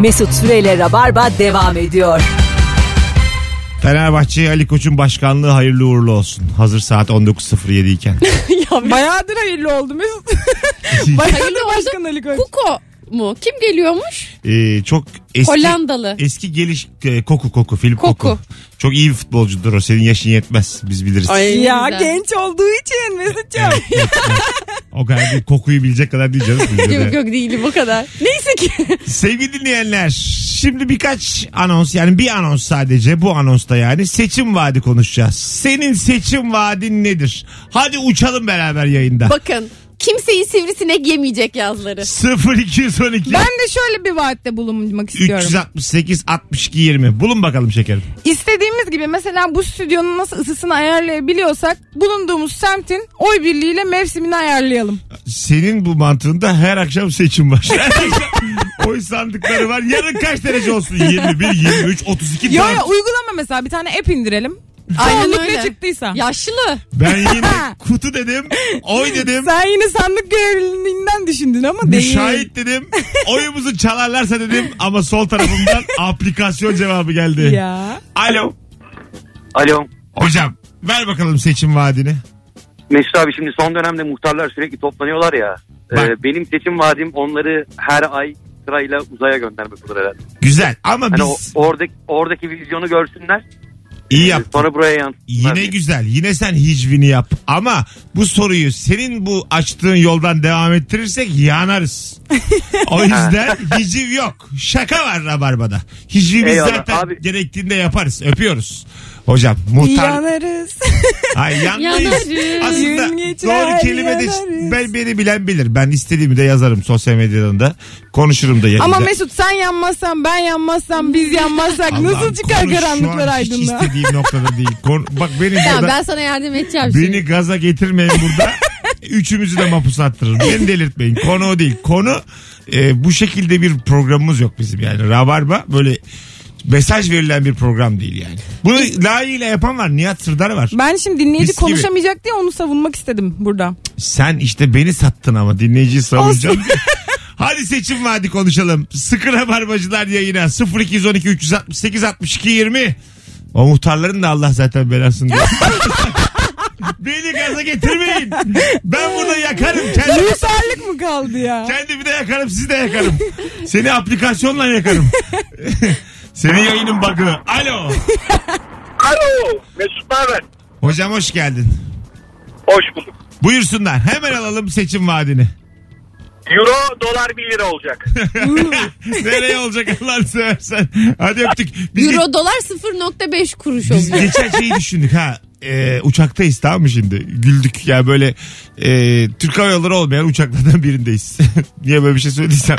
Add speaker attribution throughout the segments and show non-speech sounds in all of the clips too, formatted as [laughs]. Speaker 1: Mesut Süreyle Rabarba devam ediyor.
Speaker 2: Fenerbahçe'ye Ali Koç'un başkanlığı hayırlı uğurlu olsun. Hazır saat 19.07 iken.
Speaker 3: ya bayağıdır hayırlı oldu Mesut.
Speaker 4: Hayırlı
Speaker 3: bayağıdır
Speaker 4: oldu.
Speaker 3: başkan Ali Koç.
Speaker 4: Kuko mu? Kim geliyormuş?
Speaker 2: Ee, çok eski
Speaker 4: Hollandalı.
Speaker 2: eski geliş e, koku koku Filip koku.
Speaker 4: Koku.
Speaker 2: Çok iyi bir futbolcudur o. Senin yaşın yetmez. Biz biliriz.
Speaker 3: Ay,
Speaker 4: Ne
Speaker 3: ya
Speaker 4: güzel.
Speaker 3: genç olduğu için Mesut'cum.
Speaker 2: O kadar değil, kokuyu bilecek kadar değil canım. Biz de.
Speaker 4: [laughs] Yok yok değilim o [laughs] kadar. Neyse ki.
Speaker 2: Sevgili dinleyenler şimdi birkaç anons yani bir anons sadece bu anonsta yani seçim vaadi konuşacağız. Senin seçim vaadin nedir? Hadi uçalım beraber yayında.
Speaker 4: Bakın kimseyi sivrisinek yemeyecek yazları.
Speaker 2: 0212
Speaker 3: ben de şöyle bir vaatte bulunmak istiyorum.
Speaker 2: 368 62 20 bulun bakalım şekerim.
Speaker 3: İstediğimiz gibi mesela bu stüdyonun nasıl ısısını ayarlayabiliyorsak bulunduğumuz semtin oy birliğiyle mevsimini ayarlayalım.
Speaker 2: Senin bu mantığında her akşam seçim var. Her akşam [laughs] Oy sandıkları var. Yarın kaç derece olsun? 21, 23, 32.
Speaker 3: Ya
Speaker 2: dört.
Speaker 3: ya uygulama mesela bir tane app indirelim.
Speaker 4: Aynen
Speaker 3: Çoğunluk
Speaker 4: öyle.
Speaker 3: ne çıktıysa.
Speaker 4: Yaşlı.
Speaker 2: Ben yine kutu dedim,
Speaker 3: [laughs]
Speaker 2: oy dedim,
Speaker 3: Sen yine sandık görevliliğinden düşündün ama değil.
Speaker 2: Müşahit dedim. Oyumuzu çalarlarsa dedim ama sol
Speaker 3: [laughs]
Speaker 2: tarafımdan aplikasyon cevabı geldi.
Speaker 3: Ya.
Speaker 2: Alo.
Speaker 5: Alo.
Speaker 2: Hocam ver bakalım seçim vaadini.
Speaker 5: Mesut abi şimdi son dönemde muhtarlar sürekli toplanıyorlar ya. Ee,
Speaker 2: Bak.
Speaker 5: benim seçim vaadim onları her ay sırayla uzaya göndermek olur herhalde.
Speaker 2: Güzel ama biz
Speaker 5: Hani o, oradaki, oradaki vizyonu görsünler. ee,
Speaker 2: iyi yap.
Speaker 5: Sonra buraya yansıtsınlar.
Speaker 2: Yine
Speaker 5: diye.
Speaker 2: güzel. Yine sen hicvini yap. Ama bu soruyu senin bu açtığın yoldan devam ettirirsek
Speaker 5: [laughs]
Speaker 2: yanarız. O yüzden hiciv yok. Şaka var rabarbada. Hicvi biz
Speaker 5: Eyvallah,
Speaker 2: zaten
Speaker 5: abi.
Speaker 2: gerektiğinde yaparız. Öpüyoruz. Hocam muhtar
Speaker 3: Yanarız.
Speaker 2: Ay yandayız.
Speaker 4: Yanarız.
Speaker 2: Aslında
Speaker 3: Gün geçer,
Speaker 2: doğru kelime de
Speaker 3: yanarız.
Speaker 2: ben beni bilen bilir. Ben istediğimi de yazarım sosyal medyadan da. Konuşurum da.
Speaker 3: Ama
Speaker 2: yayında.
Speaker 3: Mesut sen yanmazsan ben yanmazsam biz yanmazsak
Speaker 2: Allah'ım
Speaker 3: nasıl çıkar
Speaker 2: konu şu
Speaker 3: karanlıklar
Speaker 2: an Hiç
Speaker 3: aydınlığa?
Speaker 2: istediğim noktada değil. Konu- bak beni
Speaker 4: Ya
Speaker 2: burada,
Speaker 4: ben sana yardım edeceğim
Speaker 2: beni gaza getirmeyin burada. Üçümüzü de mapus attırırım. Beni delirtmeyin. Konu o değil. Konu e, bu şekilde bir programımız yok bizim yani. Rabarba böyle mesaj verilen bir program değil yani. Bunu layığıyla yapan var. Nihat Sırdar var.
Speaker 3: Ben şimdi dinleyici
Speaker 2: Mis gibi.
Speaker 3: konuşamayacak diye onu savunmak istedim
Speaker 2: [laughs]
Speaker 3: burada.
Speaker 2: Sen işte beni sattın ama dinleyiciyi savunacağım. Hadi seçim vaadi konuşalım. Sıkı rabarbacılar yayına 0212 368 62 20. O muhtarların da Allah zaten belasını diyor. Beni gaza getirmeyin. Ben burada yakarım. Kendimi,
Speaker 3: Yüzerlik mı kaldı ya?
Speaker 2: kendimi de yakarım sizi de yakarım. Seni aplikasyonla yakarım. Senin yayının bug'ı. Alo.
Speaker 6: Alo Mesut Naber.
Speaker 2: Hocam hoş geldin.
Speaker 6: Hoş bulduk.
Speaker 2: Buyursunlar. Hemen alalım seçim vaadini.
Speaker 6: Euro dolar 1 lira
Speaker 2: [laughs]
Speaker 6: olacak.
Speaker 2: Nereye olacak Allah'ını seversen. Hadi öptük. Biz
Speaker 4: Euro dolar 0.5 kuruş
Speaker 2: Biz
Speaker 4: oluyor.
Speaker 2: geçen şeyi düşündük ha. Ee, uçaktayız tamam mı şimdi? Güldük ya böyle e, Türk Hava Yolları olmayan uçaklardan birindeyiz. [laughs] Niye böyle bir şey söylediysem.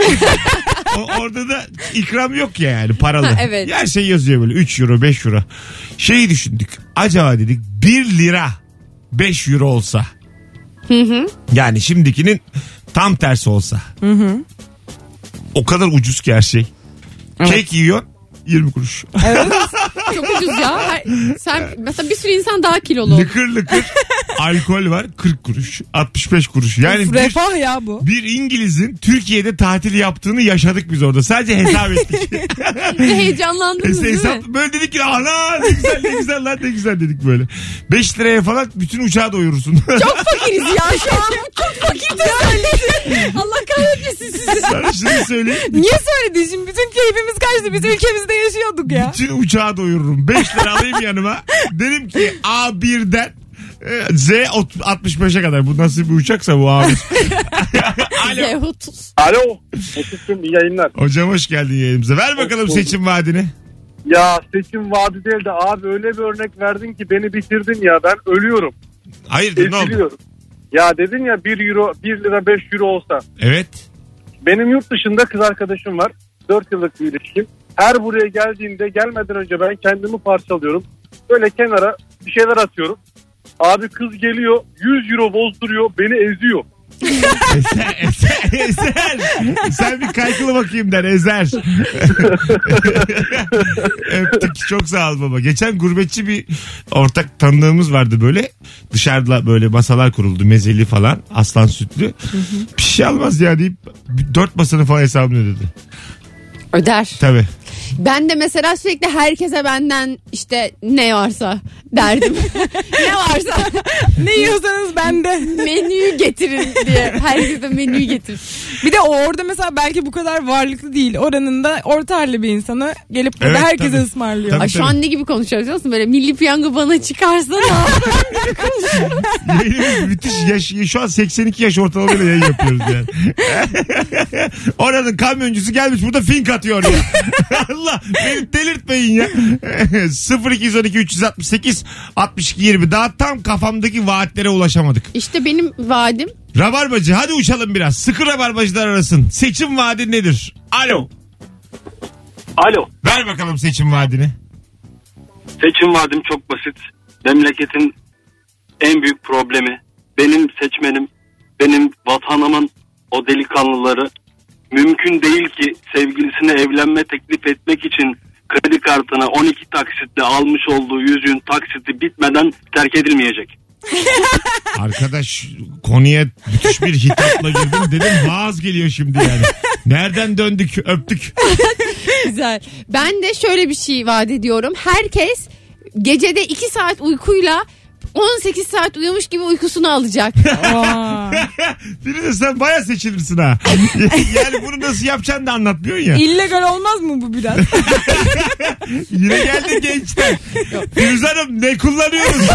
Speaker 2: O- orada da ikram yok ya yani paralı.
Speaker 4: Ha, evet.
Speaker 2: Her şey yazıyor böyle 3 euro 5 euro. Şeyi düşündük. Acaba dedik 1 lira 5 euro olsa. Yani şimdikinin tam tersi olsa. O kadar ucuz ki her şey. Kek yiyor 20 kuruş.
Speaker 4: Çok ucuz ya. Her- [laughs] sen mesela bir sürü insan daha kilolu oldu.
Speaker 2: Lıkır lıkır alkol var 40 kuruş 65 kuruş. Yani bir,
Speaker 3: Refah ya bu.
Speaker 2: bir İngiliz'in Türkiye'de tatil yaptığını yaşadık biz orada. Sadece hesap ettik. [laughs]
Speaker 4: Bir Heyecanlandınız
Speaker 2: Hesap-
Speaker 4: değil mi?
Speaker 2: hesap, böyle dedik ki ana ne güzel ne güzel lan ne güzel dedik böyle. 5 liraya falan bütün uçağı doyurursun. [laughs]
Speaker 3: Çok fakiriz [laughs] ya şu an. Çok fakir teselli.
Speaker 4: [laughs]
Speaker 3: Allah kahretmesin sizi.
Speaker 2: Sana şunu söyleyeyim.
Speaker 3: Niye söyledin şimdi? Bütün keyfimiz kaçtı. Biz ülkemizde yaşıyorduk ya.
Speaker 2: Bütün uçağı doyururum. 5 lira alayım yanıma. Derim ki A1'den e, Z ot- 65'e kadar. Bu nasıl bir uçaksa bu abi.
Speaker 4: Z30.
Speaker 6: Alo Mesut'cum iyi yayınlar.
Speaker 2: Hocam hoş geldin yayınımıza. Ver bakalım
Speaker 6: Hoş bulduk.
Speaker 2: seçim vaadini.
Speaker 6: Ya seçim vaadi değil de abi öyle bir örnek verdin ki beni bitirdin ya ben ölüyorum.
Speaker 2: Hayırdır ne oldu?
Speaker 6: Eziliyorum. Ya dedin ya 1 euro 1 lira 5 euro olsa.
Speaker 2: Evet.
Speaker 6: Benim yurt dışında kız arkadaşım var. 4 yıllık bir ilişkim. Her buraya geldiğinde gelmeden önce ben kendimi parçalıyorum. Böyle kenara bir şeyler atıyorum. Abi kız geliyor 100 euro bozduruyor beni eziyor.
Speaker 2: Ezer, ezer, ezer. Sen bir kaykılı bakayım der ezer. [laughs] Öptük çok sağ ol baba. Geçen gurbetçi bir ortak tanıdığımız vardı böyle. Dışarıda böyle masalar kuruldu mezeli falan aslan sütlü. Bir şey almaz ya deyip dört masanın falan hesabını ödedi.
Speaker 4: Öder.
Speaker 2: Tabii.
Speaker 4: Ben de mesela sürekli herkese benden işte ne varsa [laughs] derdim. ne varsa
Speaker 3: Ne
Speaker 2: [laughs]
Speaker 3: yiyorsanız bende.
Speaker 4: menüyü getirin diye. Herkese menüyü [laughs] getir.
Speaker 3: Bir de o orada mesela belki bu kadar varlıklı değil. Oranın da orta halli bir insanı gelip burada
Speaker 2: Evet,
Speaker 3: herkese
Speaker 2: tabii.
Speaker 3: ısmarlıyor.
Speaker 2: Tabii.
Speaker 4: Ay şu an ne gibi konuşuyoruz biliyor musun? Böyle milli piyango bana çıkarsa ne yaparım?
Speaker 2: Yayınımız müthiş yaş, şu an 82 yaş ortalamayla yayın yapıyoruz yani. [laughs] Oranın kamyoncusu gelmiş burada fink atıyor ya. [laughs] Allah beni delirtmeyin ya. [laughs] 0212 368 62 20 daha tam kafamdaki vaatlere ulaşamadık.
Speaker 4: [laughs] İşte benim vaadim
Speaker 2: Rabarbacı hadi uçalım biraz. Sıkı rabarbacılar arasın. Seçim vaadi nedir? Alo.
Speaker 5: Alo.
Speaker 2: Ver bakalım seçim vaadini.
Speaker 5: Seçim vaadim çok basit. Memleketin en büyük problemi benim seçmenim, benim vatanımın o delikanlıları mümkün değil ki sevgilisine evlenme teklif etmek için kredi kartına 12 taksitle almış olduğu yüzüğün taksiti bitmeden terk edilmeyecek.
Speaker 2: Arkadaş konuya müthiş bir hitapla girdim. Dedim vaaz geliyor şimdi yani. Nereden döndük öptük.
Speaker 4: güzel. Ben de şöyle bir şey vaat ediyorum. Herkes gecede 2 saat uykuyla 18 saat uyumuş gibi uykusunu alacak.
Speaker 3: Aa.
Speaker 2: [laughs] Firuze sen baya seçilirsin ha. [laughs] yani bunu nasıl yapacağını da anlatmıyorsun ya.
Speaker 3: İllegal olmaz mı
Speaker 2: [laughs]
Speaker 3: bu biraz?
Speaker 2: Yine geldi gençler. Firuze Hanım ne kullanıyoruz?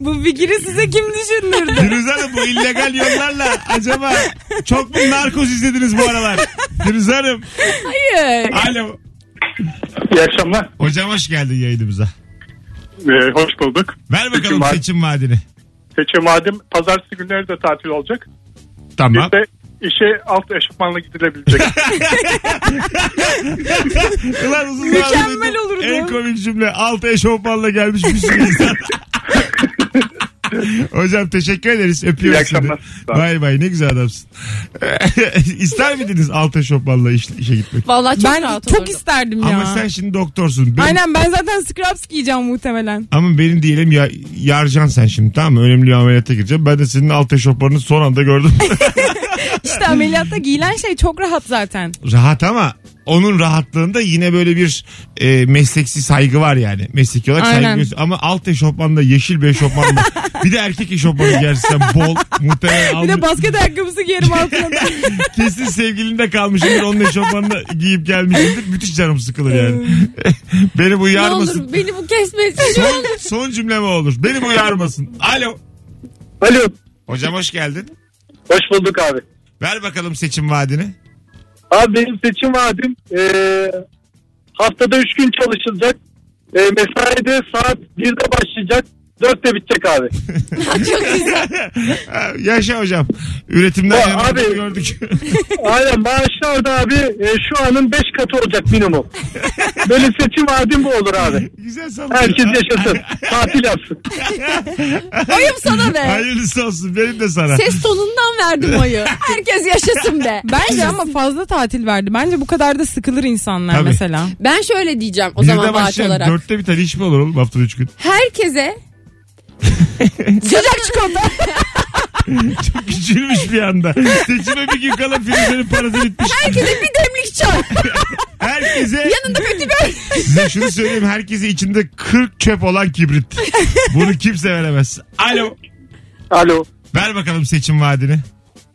Speaker 3: bu fikri size kim düşündürdü?
Speaker 2: Firuze Hanım bu illegal yollarla acaba çok mu narkoz izlediniz bu aralar? Firuze Hanım.
Speaker 4: Hayır.
Speaker 2: Alo.
Speaker 6: İyi akşamlar.
Speaker 2: Hocam hoş geldin yayınımıza.
Speaker 6: Ee, hoş bulduk.
Speaker 2: Ver bakalım
Speaker 6: Seçim vaadi.
Speaker 2: seçim vaadini.
Speaker 6: Seçim adım pazartesi günleri de tatil olacak.
Speaker 2: Tamam.
Speaker 6: Bir de işe alt eşofmanla gidilebilecek.
Speaker 2: Ulan uzun zamandır
Speaker 3: Mükemmel
Speaker 2: duydum.
Speaker 3: olurdu.
Speaker 2: En komik cümle. Altı eşofmanla gelmiş bir sürü
Speaker 6: [laughs]
Speaker 2: insan. Hocam teşekkür ederiz. Öpüyoruz
Speaker 6: İyi akşamlar.
Speaker 2: seni.
Speaker 6: Sağ ol.
Speaker 2: Bay bay ne güzel adamsın. [laughs] İster miydiniz altı eşofmanla iş- işe gitmek?
Speaker 4: [laughs] Vallahi çok
Speaker 3: Ben
Speaker 4: rahat
Speaker 3: çok
Speaker 4: olurdu.
Speaker 3: isterdim ya.
Speaker 2: Ama sen şimdi doktorsun. Benim,
Speaker 3: Aynen ben zaten scrubs giyeceğim muhtemelen.
Speaker 2: Ama benim diyelim ya, yarcan sen şimdi tamam mı? Önemli bir ameliyata gireceğim. Ben de senin altı eşofmanını son anda gördüm.
Speaker 3: İşte ameliyatta giyilen şey çok rahat zaten.
Speaker 2: Rahat ama onun rahatlığında yine böyle bir e, mesleksi saygı var yani. Mesleki olarak saygı
Speaker 3: Aynen.
Speaker 2: göster- Ama alt eşofmanla yeşil bir eşofmanla bir de erkek eşofmanı giyersen bol muhtemelen
Speaker 3: Bir de
Speaker 2: almış.
Speaker 3: basket ayakkabısı giyerim altına da.
Speaker 2: [laughs] Kesin sevgilinde kalmışımdır onun eşofmanını giyip gelmişimdir. Müthiş canım sıkılır yani. [laughs] Beni bu
Speaker 4: Ne
Speaker 2: yarmasın.
Speaker 4: olur beni bu kesmesin.
Speaker 2: Son, son cümlem o olur. Beni bu yarmasın. Alo.
Speaker 6: Alo.
Speaker 2: Hocam hoş geldin.
Speaker 6: Hoş bulduk abi.
Speaker 2: Ver bakalım seçim vaadini.
Speaker 6: Abi benim seçim vaadim eee, haftada 3 gün çalışılacak. Eee, mesai de saat 1'de başlayacak. 4'te bitecek abi.
Speaker 2: Yaşa hocam. Üretimden
Speaker 6: Ya
Speaker 2: yanlarını
Speaker 6: abi-
Speaker 2: gördük. [laughs]
Speaker 6: Aynen maaşlar da abi eee, şu anın 5 katı olacak minimum. Böyle seçim vaadim bu olur abi.
Speaker 2: Güzel sallıyor.
Speaker 6: Herkes yaşasın. Tatil yapsın.
Speaker 4: Oyum sana be.
Speaker 2: Hayırlısı olsun benim de sana.
Speaker 4: Ses tonundan verdim oyu. Herkes yaşasın be.
Speaker 3: Bence ama fazla tatil verdi. Bence bu kadar da sıkılır insanlar
Speaker 2: Tabii.
Speaker 3: mesela.
Speaker 4: Ben şöyle diyeceğim o
Speaker 2: Birde
Speaker 4: zaman vaat
Speaker 2: başlayan
Speaker 4: olarak.
Speaker 2: dörtte bir tane iş mi olur oğlum haftada üç gün?
Speaker 4: Herkese sıcak çikolata.
Speaker 2: Küçülmüş bir anda. Seçime bir gün kala Firuze'nin parası bitmiş.
Speaker 4: Herkese bir demlik çay.
Speaker 2: Herkese
Speaker 4: Yanında kötü bir
Speaker 2: size şunu söyleyeyim. Herkese içinde 40 çöp olan kibrit. Bunu kimse veremez. Alo.
Speaker 5: Alo.
Speaker 2: Ver bakalım seçim vaadini.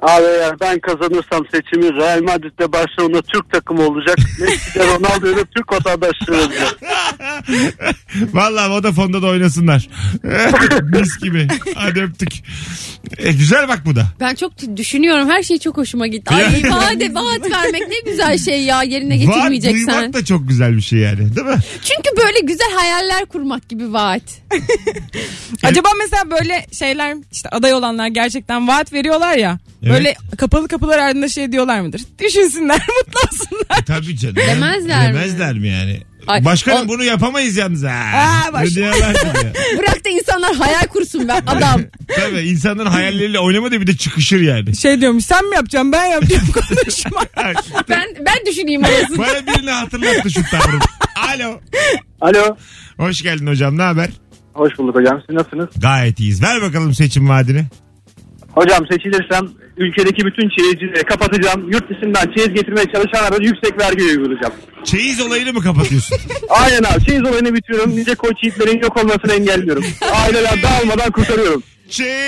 Speaker 5: Abi eğer ben kazanırsam seçimi Real Madrid'de Barcelona Türk takımı olacak. Messi'de Ronaldo'yla Türk vatandaşlığı olacak.
Speaker 2: Valla Vodafone'da da oynasınlar. [laughs] Mis gibi. Hadi öptük. E, güzel bak bu da.
Speaker 4: Ben çok düşünüyorum her şey çok hoşuma gitti. Ay ifade vaat vermek ne güzel şey ya yerine
Speaker 2: Vaat
Speaker 4: getirmeyeceksen.
Speaker 2: duymak da çok güzel bir şey yani. Değil mi?
Speaker 4: Çünkü böyle güzel hayaller kurmak gibi vaat.
Speaker 3: Acaba mesela böyle şeyler işte aday olanlar gerçekten vaat veriyorlar ya.
Speaker 2: Evet.
Speaker 3: Böyle kapalı kapılar ardında şey diyorlar mıdır? Düşünsünler [laughs] mutlu olsunlar.
Speaker 2: Tabii canım.
Speaker 4: Demezler mi?
Speaker 2: Demezler mi? yani?
Speaker 4: Ay,
Speaker 2: Başkanım
Speaker 4: o-
Speaker 2: bunu yapamayız yalnız. Ha.
Speaker 3: Ha, baş-
Speaker 2: Ne diyorlar şimdi?
Speaker 4: Bırak da insanlar hayal kursun ben
Speaker 2: [laughs]
Speaker 4: adam.
Speaker 2: Tabii insanların hayalleriyle oynama diye bir de çıkışır
Speaker 4: [laughs]
Speaker 2: yani.
Speaker 3: Şey diyormuş sen mi yapacaksın ben yapacağım [laughs]
Speaker 2: [laughs]
Speaker 3: konuşma.
Speaker 4: Ben ben düşüneyim arasını.
Speaker 2: Bana birini hatırlattı şu tavrım. Alo.
Speaker 5: Alo.
Speaker 2: Hoş geldin hocam ne haber?
Speaker 5: Hoş bulduk hocam. Siz nasılsınız?
Speaker 2: Gayet iyiyiz. Ver bakalım seçim vaadini.
Speaker 6: Hocam seçilirsem ülkedeki bütün çeyizcileri kapatacağım. Yurt dışından çeyiz getirmeye çalışanlara yüksek vergi uygulayacağım.
Speaker 2: Çeyiz olayını mı
Speaker 4: [laughs]
Speaker 2: kapatıyorsun?
Speaker 6: Aynen abi çeyiz olayını bitiriyorum. Nice koç yiğitlerin yok olmasını engelliyorum. Aileler dağılmadan kurtarıyorum.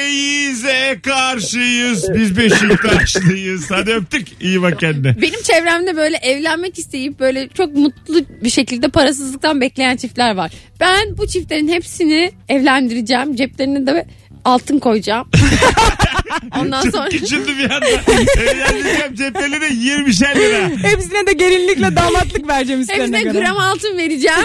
Speaker 2: Çeyize karşıyız. Biz Beşiktaşlıyız. Hadi öptük. İyi bak kendine.
Speaker 4: Benim çevremde böyle evlenmek isteyip böyle çok mutlu bir şekilde parasızlıktan bekleyen çiftler var. Ben bu çiftlerin hepsini evlendireceğim. Ceplerine de
Speaker 2: [laughs]
Speaker 4: altın koyacağım. Ondan
Speaker 2: Çok
Speaker 4: sonra
Speaker 2: küçüldü bir anda. Evlendireceğim ceplerine 20'şer lira.
Speaker 3: Hepsine de gelinlikle damatlık vereceğim üstlerine
Speaker 4: hepsine
Speaker 3: göre.
Speaker 4: gram altın [laughs] vereceğim.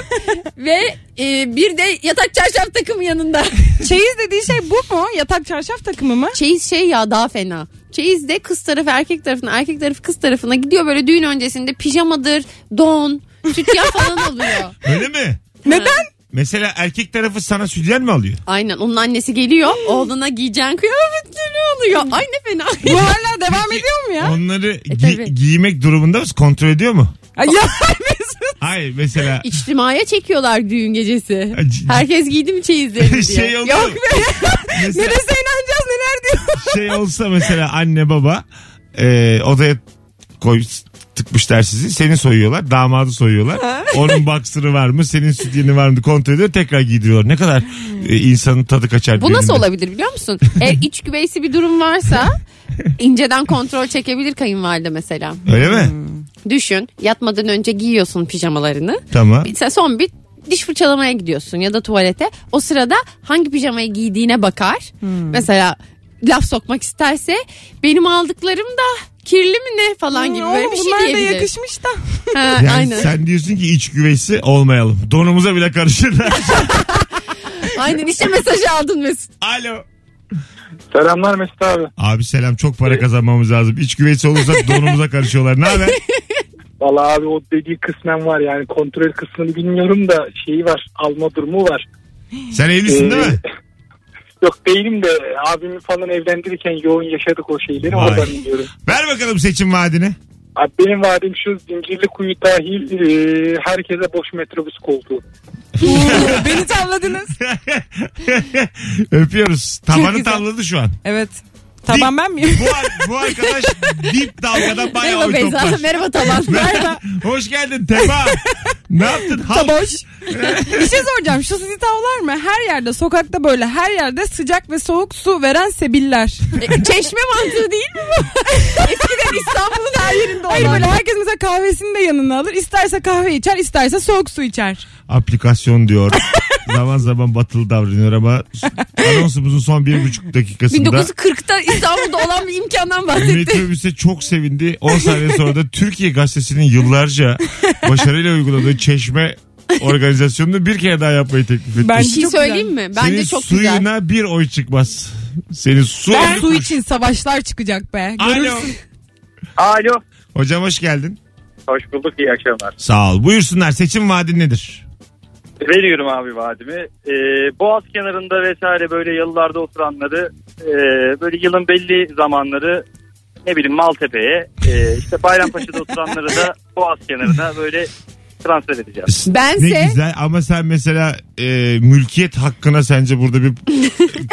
Speaker 4: Ve e, bir de yatak çarşaf takımı yanında.
Speaker 3: Çeyiz dediği şey bu mu? Yatak çarşaf takımı mı?
Speaker 4: Çeyiz şey ya daha fena. Çeyiz de kız tarafı erkek tarafına, erkek tarafı kız tarafına gidiyor böyle düğün öncesinde pijamadır, don, [laughs] sütyen falan oluyor.
Speaker 2: Öyle mi?
Speaker 3: Neden?
Speaker 2: Mesela erkek tarafı sana sütyen mi alıyor?
Speaker 4: Aynen onun annesi geliyor oğluna giyeceğin kıyafetleri oluyor. Ay ne fena.
Speaker 3: Bu hala devam ediyor mu ya?
Speaker 2: Onları gi-
Speaker 4: E, tabii.
Speaker 2: giymek durumunda mısın? Kontrol ediyor mu?
Speaker 3: Ay [laughs] ya Mesut.
Speaker 2: Hayır mesela
Speaker 4: İçtimaya çekiyorlar düğün gecesi.
Speaker 2: Ay, c-
Speaker 4: Herkes giydi mi çeyizlerini [laughs]
Speaker 2: [laughs]
Speaker 4: diye.
Speaker 2: şey oldu.
Speaker 3: Yok be.
Speaker 2: [laughs] Mesela-
Speaker 3: Neresi inanacağız neler diyor.
Speaker 2: şey olsa mesela anne baba e, odaya koy tıkmışlar sizi. Seni soyuyorlar. Damadı soyuyorlar.
Speaker 4: [laughs]
Speaker 2: Onun baksırı var mı? Senin sütyeni var mı? Kontrol ediyor. Tekrar giydiriyorlar. Ne kadar e, insanın tadı kaçar.
Speaker 4: Bu nasıl
Speaker 2: düğünde.
Speaker 4: olabilir biliyor musun? Eğer iç güveysi bir durum varsa inceden kontrol çekebilir kayınvalide mesela.
Speaker 2: Öyle mi?
Speaker 4: Hmm. Düşün yatmadan önce giyiyorsun pijamalarını.
Speaker 2: Tamam.
Speaker 4: Bir- son bir diş fırçalamaya gidiyorsun ya da tuvalete. O sırada hangi pijamayı giydiğine bakar.
Speaker 3: Hmm.
Speaker 4: Mesela laf sokmak isterse benim aldıklarım da kirli mi ne falan gibi böyle bir şey
Speaker 3: Hmm, Bunlar da
Speaker 4: diyebilir.
Speaker 3: [laughs] yakışmış da.
Speaker 4: Ha,
Speaker 2: Yani
Speaker 4: aynen.
Speaker 2: sen diyorsun ki iç güveysi olmayalım. Donumuza bile
Speaker 4: [laughs]
Speaker 2: karışırlar.
Speaker 4: Aynen işte mesajı aldın Mesut.
Speaker 2: Alo.
Speaker 6: Selamlar Mesut abi.
Speaker 2: Abi selam çok para kazanmamız lazım. İç güveysi
Speaker 3: [laughs]
Speaker 2: olursa donumuza karışıyorlar. Ne haber?
Speaker 6: Valla abi o dediği kısmen var yani kontrol kısmını bilmiyorum da şeyi var alma durumu var. Ee,
Speaker 2: Sen evlisin değil mi?
Speaker 6: [laughs] Yok değilim de abimi falan evlendirirken yoğun yaşadık o şeyleri
Speaker 2: Vay.
Speaker 6: oradan biliyorum.
Speaker 2: Ver bakalım seçim vaadini. [laughs]
Speaker 6: Abi benim vaadim şu zincirli kuyu dahil e, herkese boş metrobüs koltuğu.
Speaker 3: Oo, Beni tavladınız.
Speaker 2: Öpüyoruz. Tabanı
Speaker 3: güzel.
Speaker 2: tavladı şu an.
Speaker 3: Evet. Taban ben [laughs] miyim?
Speaker 2: Bu, ar- bu arkadaş dip dalgada bayağı
Speaker 4: Merhaba
Speaker 2: oy toplar.
Speaker 4: Beyza. Merhaba Taban.
Speaker 2: [laughs] Hoş geldin Teba. ne yaptın? Halk.
Speaker 3: Taboş. bir şey soracağım. Şu sizi tavlar mı? Her yerde sokakta böyle her yerde sıcak ve soğuk su veren sebiller.
Speaker 4: E, Çeşme mantığı değil mi
Speaker 3: [laughs]
Speaker 4: bu? Eskiden İstanbul'un her yerinde
Speaker 3: Hayır
Speaker 4: olan.
Speaker 3: böyle herkes mesela kahvesini de yanına alır. İsterse kahve içer, isterse soğuk su içer.
Speaker 2: Aplikasyon diyor. zaman zaman batılı davranıyor
Speaker 3: [laughs]
Speaker 2: ama anonsumuzun son bir buçuk dakikasında
Speaker 4: 1940'ta İstanbul'da olan bir imkandan bahsetti.
Speaker 2: metrobüse çok sevindi. 10 saniye sonra da Türkiye Gazetesi'nin yıllarca başarıyla uyguladığı çeşme organizasyonunu bir kere daha yapmayı teklif etti.
Speaker 3: Ben-
Speaker 4: Bir şey
Speaker 3: Çok güzel.
Speaker 4: söyleyeyim mi? Bence
Speaker 2: Senin
Speaker 4: çok
Speaker 2: suyuna
Speaker 4: güzel.
Speaker 2: bir oy çıkmaz. Senin su
Speaker 3: Ben su için savaşlar çıkacak be.
Speaker 2: Alo.
Speaker 3: Görürsün.
Speaker 6: Alo.
Speaker 2: Hocam hoş geldin.
Speaker 6: Hoş bulduk iyi akşamlar.
Speaker 2: Sağ ol. Buyursunlar seçim vaadin nedir?
Speaker 6: Veriyorum abi vaadimi. Ee, Boğaz kenarında vesaire böyle yalılarda oturanları e, böyle yılın belli zamanları ne bileyim Maltepe'ye e, işte Bayrampaşa'da oturanları [laughs] da Boğaz kenarına böyle transfer edeceğim.
Speaker 2: Ne
Speaker 4: Bense
Speaker 2: güzel ama sen mesela e, mülkiyet hakkına sence burada bir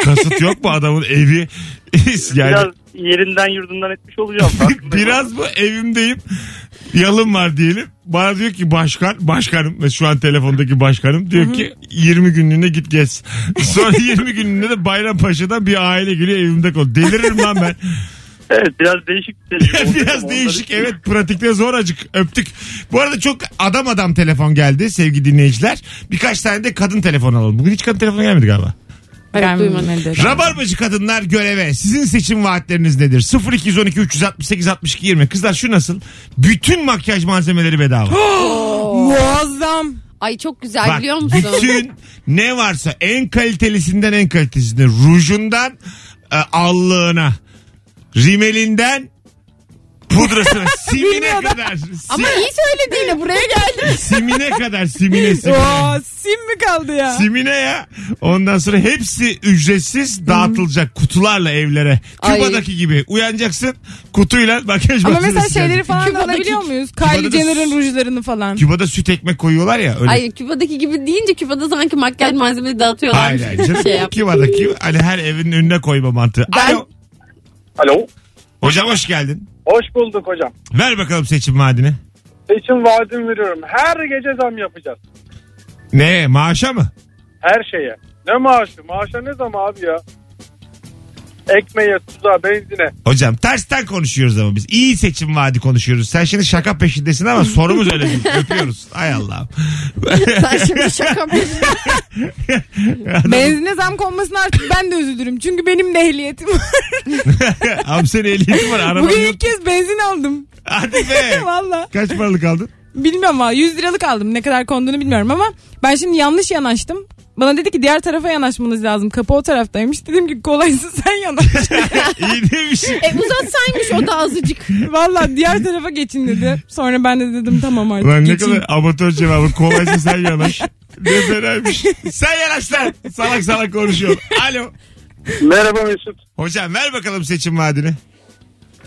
Speaker 2: kasıt yok mu adamın evi? [laughs] yani
Speaker 6: Biraz
Speaker 2: biraz,
Speaker 6: yerinden yurdundan etmiş [laughs] olacağım. Farkındayım.
Speaker 2: bu evimdeyim. Yalım var diyelim. Bana diyor ki başkan, başkanım ve şu an telefondaki başkanım diyor ki 20 günlüğüne git gez. [laughs] Sonra 20 günlüğüne de Bayrampaşa'dan bir aile geliyor evimde kal. Deliririm lan ben.
Speaker 6: Evet biraz değişik. bir [laughs] tecrübe olacak
Speaker 2: [laughs]
Speaker 6: ama
Speaker 2: Biraz
Speaker 6: onları-
Speaker 2: değişik evet pratikte zor acık öptük. Bu arada çok adam adam telefon geldi sevgili dinleyiciler. Birkaç tane de kadın telefon alalım. Bugün hiç kadın telefonu gelmedi galiba.
Speaker 4: Ben duymadım.
Speaker 3: Gelmedi.
Speaker 2: Rabarbacı kadınlar göreve. Sizin seçim vaatleriniz nedir? 0212 368 62 20. Kızlar şu nasıl? Bütün makyaj malzemeleri bedava.
Speaker 3: Muazzam.
Speaker 4: ay çok güzel
Speaker 2: Bak,
Speaker 4: biliyor musun?
Speaker 2: bütün ne varsa en kalitelisinden en kalitesine rujundan e, allığına rimelinden
Speaker 4: [laughs]
Speaker 2: pudrasına simine kadar
Speaker 4: Ama
Speaker 2: si-
Speaker 4: iyi söylediğine buraya geldim.
Speaker 2: simine kadar simine simine.
Speaker 3: Oo, sim mi kaldı ya?
Speaker 2: Simine ya. Ondan sonra hepsi ücretsiz dağıtılacak kutularla evlere.
Speaker 4: Ay.
Speaker 2: Küba'daki gibi uyanacaksın kutuyla makyaj
Speaker 3: Ama
Speaker 2: malzemesi
Speaker 3: mesela şeyleri
Speaker 2: gelecek.
Speaker 3: falan da
Speaker 4: Küba'daki-
Speaker 3: alabiliyor muyuz?
Speaker 2: Küba'da da
Speaker 3: Kylie Jenner'ın
Speaker 2: s-
Speaker 3: rujlarını falan.
Speaker 2: Küba'da süt ekmek koyuyorlar ya öyle.
Speaker 4: Ay Küba'daki gibi deyince Küba'da sanki makyaj malzemeleri dağıtıyorlar.
Speaker 3: [laughs]
Speaker 2: Hayır hayır canım.
Speaker 4: Şey yap.
Speaker 2: Küba'daki hani her evin önüne koyma mantığı.
Speaker 4: Ben
Speaker 2: Alo.
Speaker 6: Alo.
Speaker 2: Hocam hoş geldin.
Speaker 6: Hoş bulduk hocam.
Speaker 2: Ver bakalım seçim vaadini.
Speaker 6: Seçim vaadimi veriyorum. Her gece zam yapacağız.
Speaker 2: Ne maaşa mı?
Speaker 6: Her şeye. Ne maaşı? Maaşa ne zam abi ya? Ekmeğe, tuza, benzine.
Speaker 2: Hocam tersten konuşuyoruz ama biz. İyi seçim vaadi konuşuyoruz. Sen şimdi şaka peşindesin ama sorumuz öyle
Speaker 3: [laughs]
Speaker 2: değil. Öpüyoruz. Ay Allah'ım. [laughs]
Speaker 4: Sen şimdi şaka mı?
Speaker 3: Benzine zam konmasına artık ben de üzülürüm. Çünkü benim de ehliyetim var.
Speaker 2: Abi senin ehliyetin var. Araban
Speaker 3: Bugün
Speaker 2: yok.
Speaker 3: ilk kez benzin aldım.
Speaker 2: Hadi
Speaker 3: [laughs]
Speaker 2: be.
Speaker 3: Valla.
Speaker 2: Kaç paralık aldın?
Speaker 3: Bilmiyorum ama 100 liralık aldım. Ne kadar konduğunu bilmiyorum ama ben şimdi yanlış yanaştım. Bana dedi ki diğer tarafa yanaşmanız lazım. Kapı o taraftaymış. Dedim ki kolaysa [laughs] sen yanaş.
Speaker 2: [laughs] İyi demiş.
Speaker 4: E uzatsaymış o da azıcık.
Speaker 3: Valla diğer tarafa geçin dedi. Sonra ben de dedim tamam artık
Speaker 2: Ulan ne
Speaker 3: geçeyim.
Speaker 2: kadar amatör cevabı. Kolaysa sen yanaş. [laughs] Ne fenaymış. Sen yanaş lan. Salak salak konuşuyor. Alo.
Speaker 6: Merhaba Mesut.
Speaker 2: Hocam ver bakalım seçim vaadini.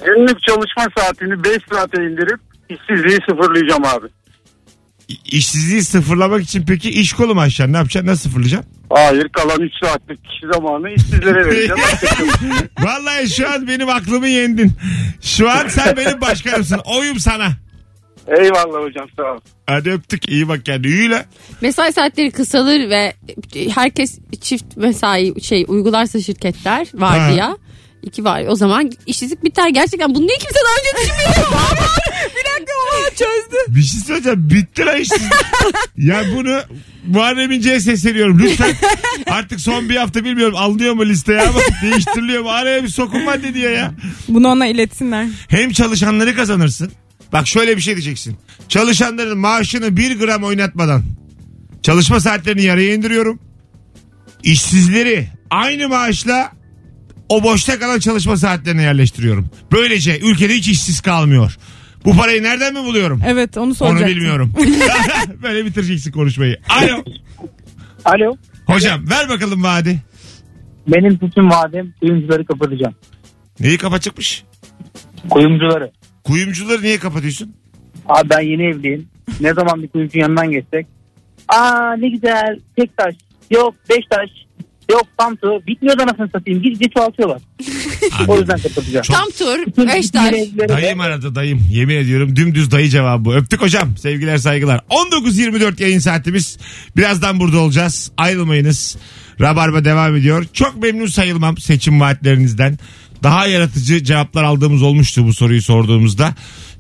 Speaker 6: Günlük çalışma saatini 5 saate indirip işsizliği sıfırlayacağım abi.
Speaker 2: İ- İşsizliği sıfırlamak için peki iş kolu mu açacaksın? Ne yapacaksın? Nasıl sıfırlayacaksın?
Speaker 6: Hayır kalan 3 saatlik kişi zamanı işsizlere vereceğim.
Speaker 2: Vallahi şu an benim aklımı yendin. Şu an sen benim başkanımsın. Oyum sana.
Speaker 6: Eyvallah hocam sağ ol.
Speaker 2: Hadi öptük. İyi bak kendine. Yürüyle.
Speaker 4: Mesai saatleri kısalır ve herkes çift mesai şey uygularsa şirketler
Speaker 2: Ha.
Speaker 4: var ya. İki var. O zaman işsizlik biter. Gerçekten bunu niye kimse daha önce
Speaker 2: [laughs]
Speaker 4: düşünmüyor?
Speaker 3: Bir dakika o çözdü.
Speaker 2: Bir şey söyleyeceğim. Bitti lan işsizlik. ya bunu Muharrem İnce'ye sesleniyorum. Lütfen artık son bir hafta bilmiyorum alınıyor mu listeye ama değiştiriliyor mu? Araya bir sokun madde diye ya.
Speaker 3: Bunu ona iletsinler.
Speaker 2: Hem çalışanları kazanırsın. Bak şöyle bir şey diyeceksin. Çalışanların maaşını bir gram oynatmadan çalışma saatlerini yarıya indiriyorum. İşsizleri aynı maaşla o boşta kalan çalışma saatlerine yerleştiriyorum. Böylece ülkede hiç işsiz kalmıyor. Bu parayı nereden mi buluyorum?
Speaker 3: Evet onu
Speaker 2: Onu
Speaker 3: soracaktım. [laughs]
Speaker 2: bilmiyorum. Böyle bitireceksin konuşmayı. Alo.
Speaker 7: Alo.
Speaker 2: Hocam ver bakalım vaadi.
Speaker 7: Benim seçim vadem kuyumcuları kapatacağım.
Speaker 2: Neyi kapatacakmış?
Speaker 7: Kuyumcuları.
Speaker 2: Kuyumcuları niye kapatıyorsun?
Speaker 7: Abi ben yeni evliyim. Ne zaman bir kuyumcu yanından geçsek. Aa ne güzel. Tek taş. Yok beş taş. Yok tam tu. Bitmiyor da nasıl satayım. Gidince çoğaltıyorlar. o yüzden kapatacağım.
Speaker 4: Tam tur. Beş taş.
Speaker 2: Dayım aradı dayım. Yemin ediyorum dümdüz dayı cevabı bu. Öptük hocam. Sevgiler saygılar. 19.24 yayın saatimiz. Birazdan burada olacağız. Ayrılmayınız. Rabarba devam ediyor. Çok memnun sayılmam seçim vaatlerinizden. Daha yaratıcı cevaplar aldığımız olmuştu bu soruyu sorduğumuzda.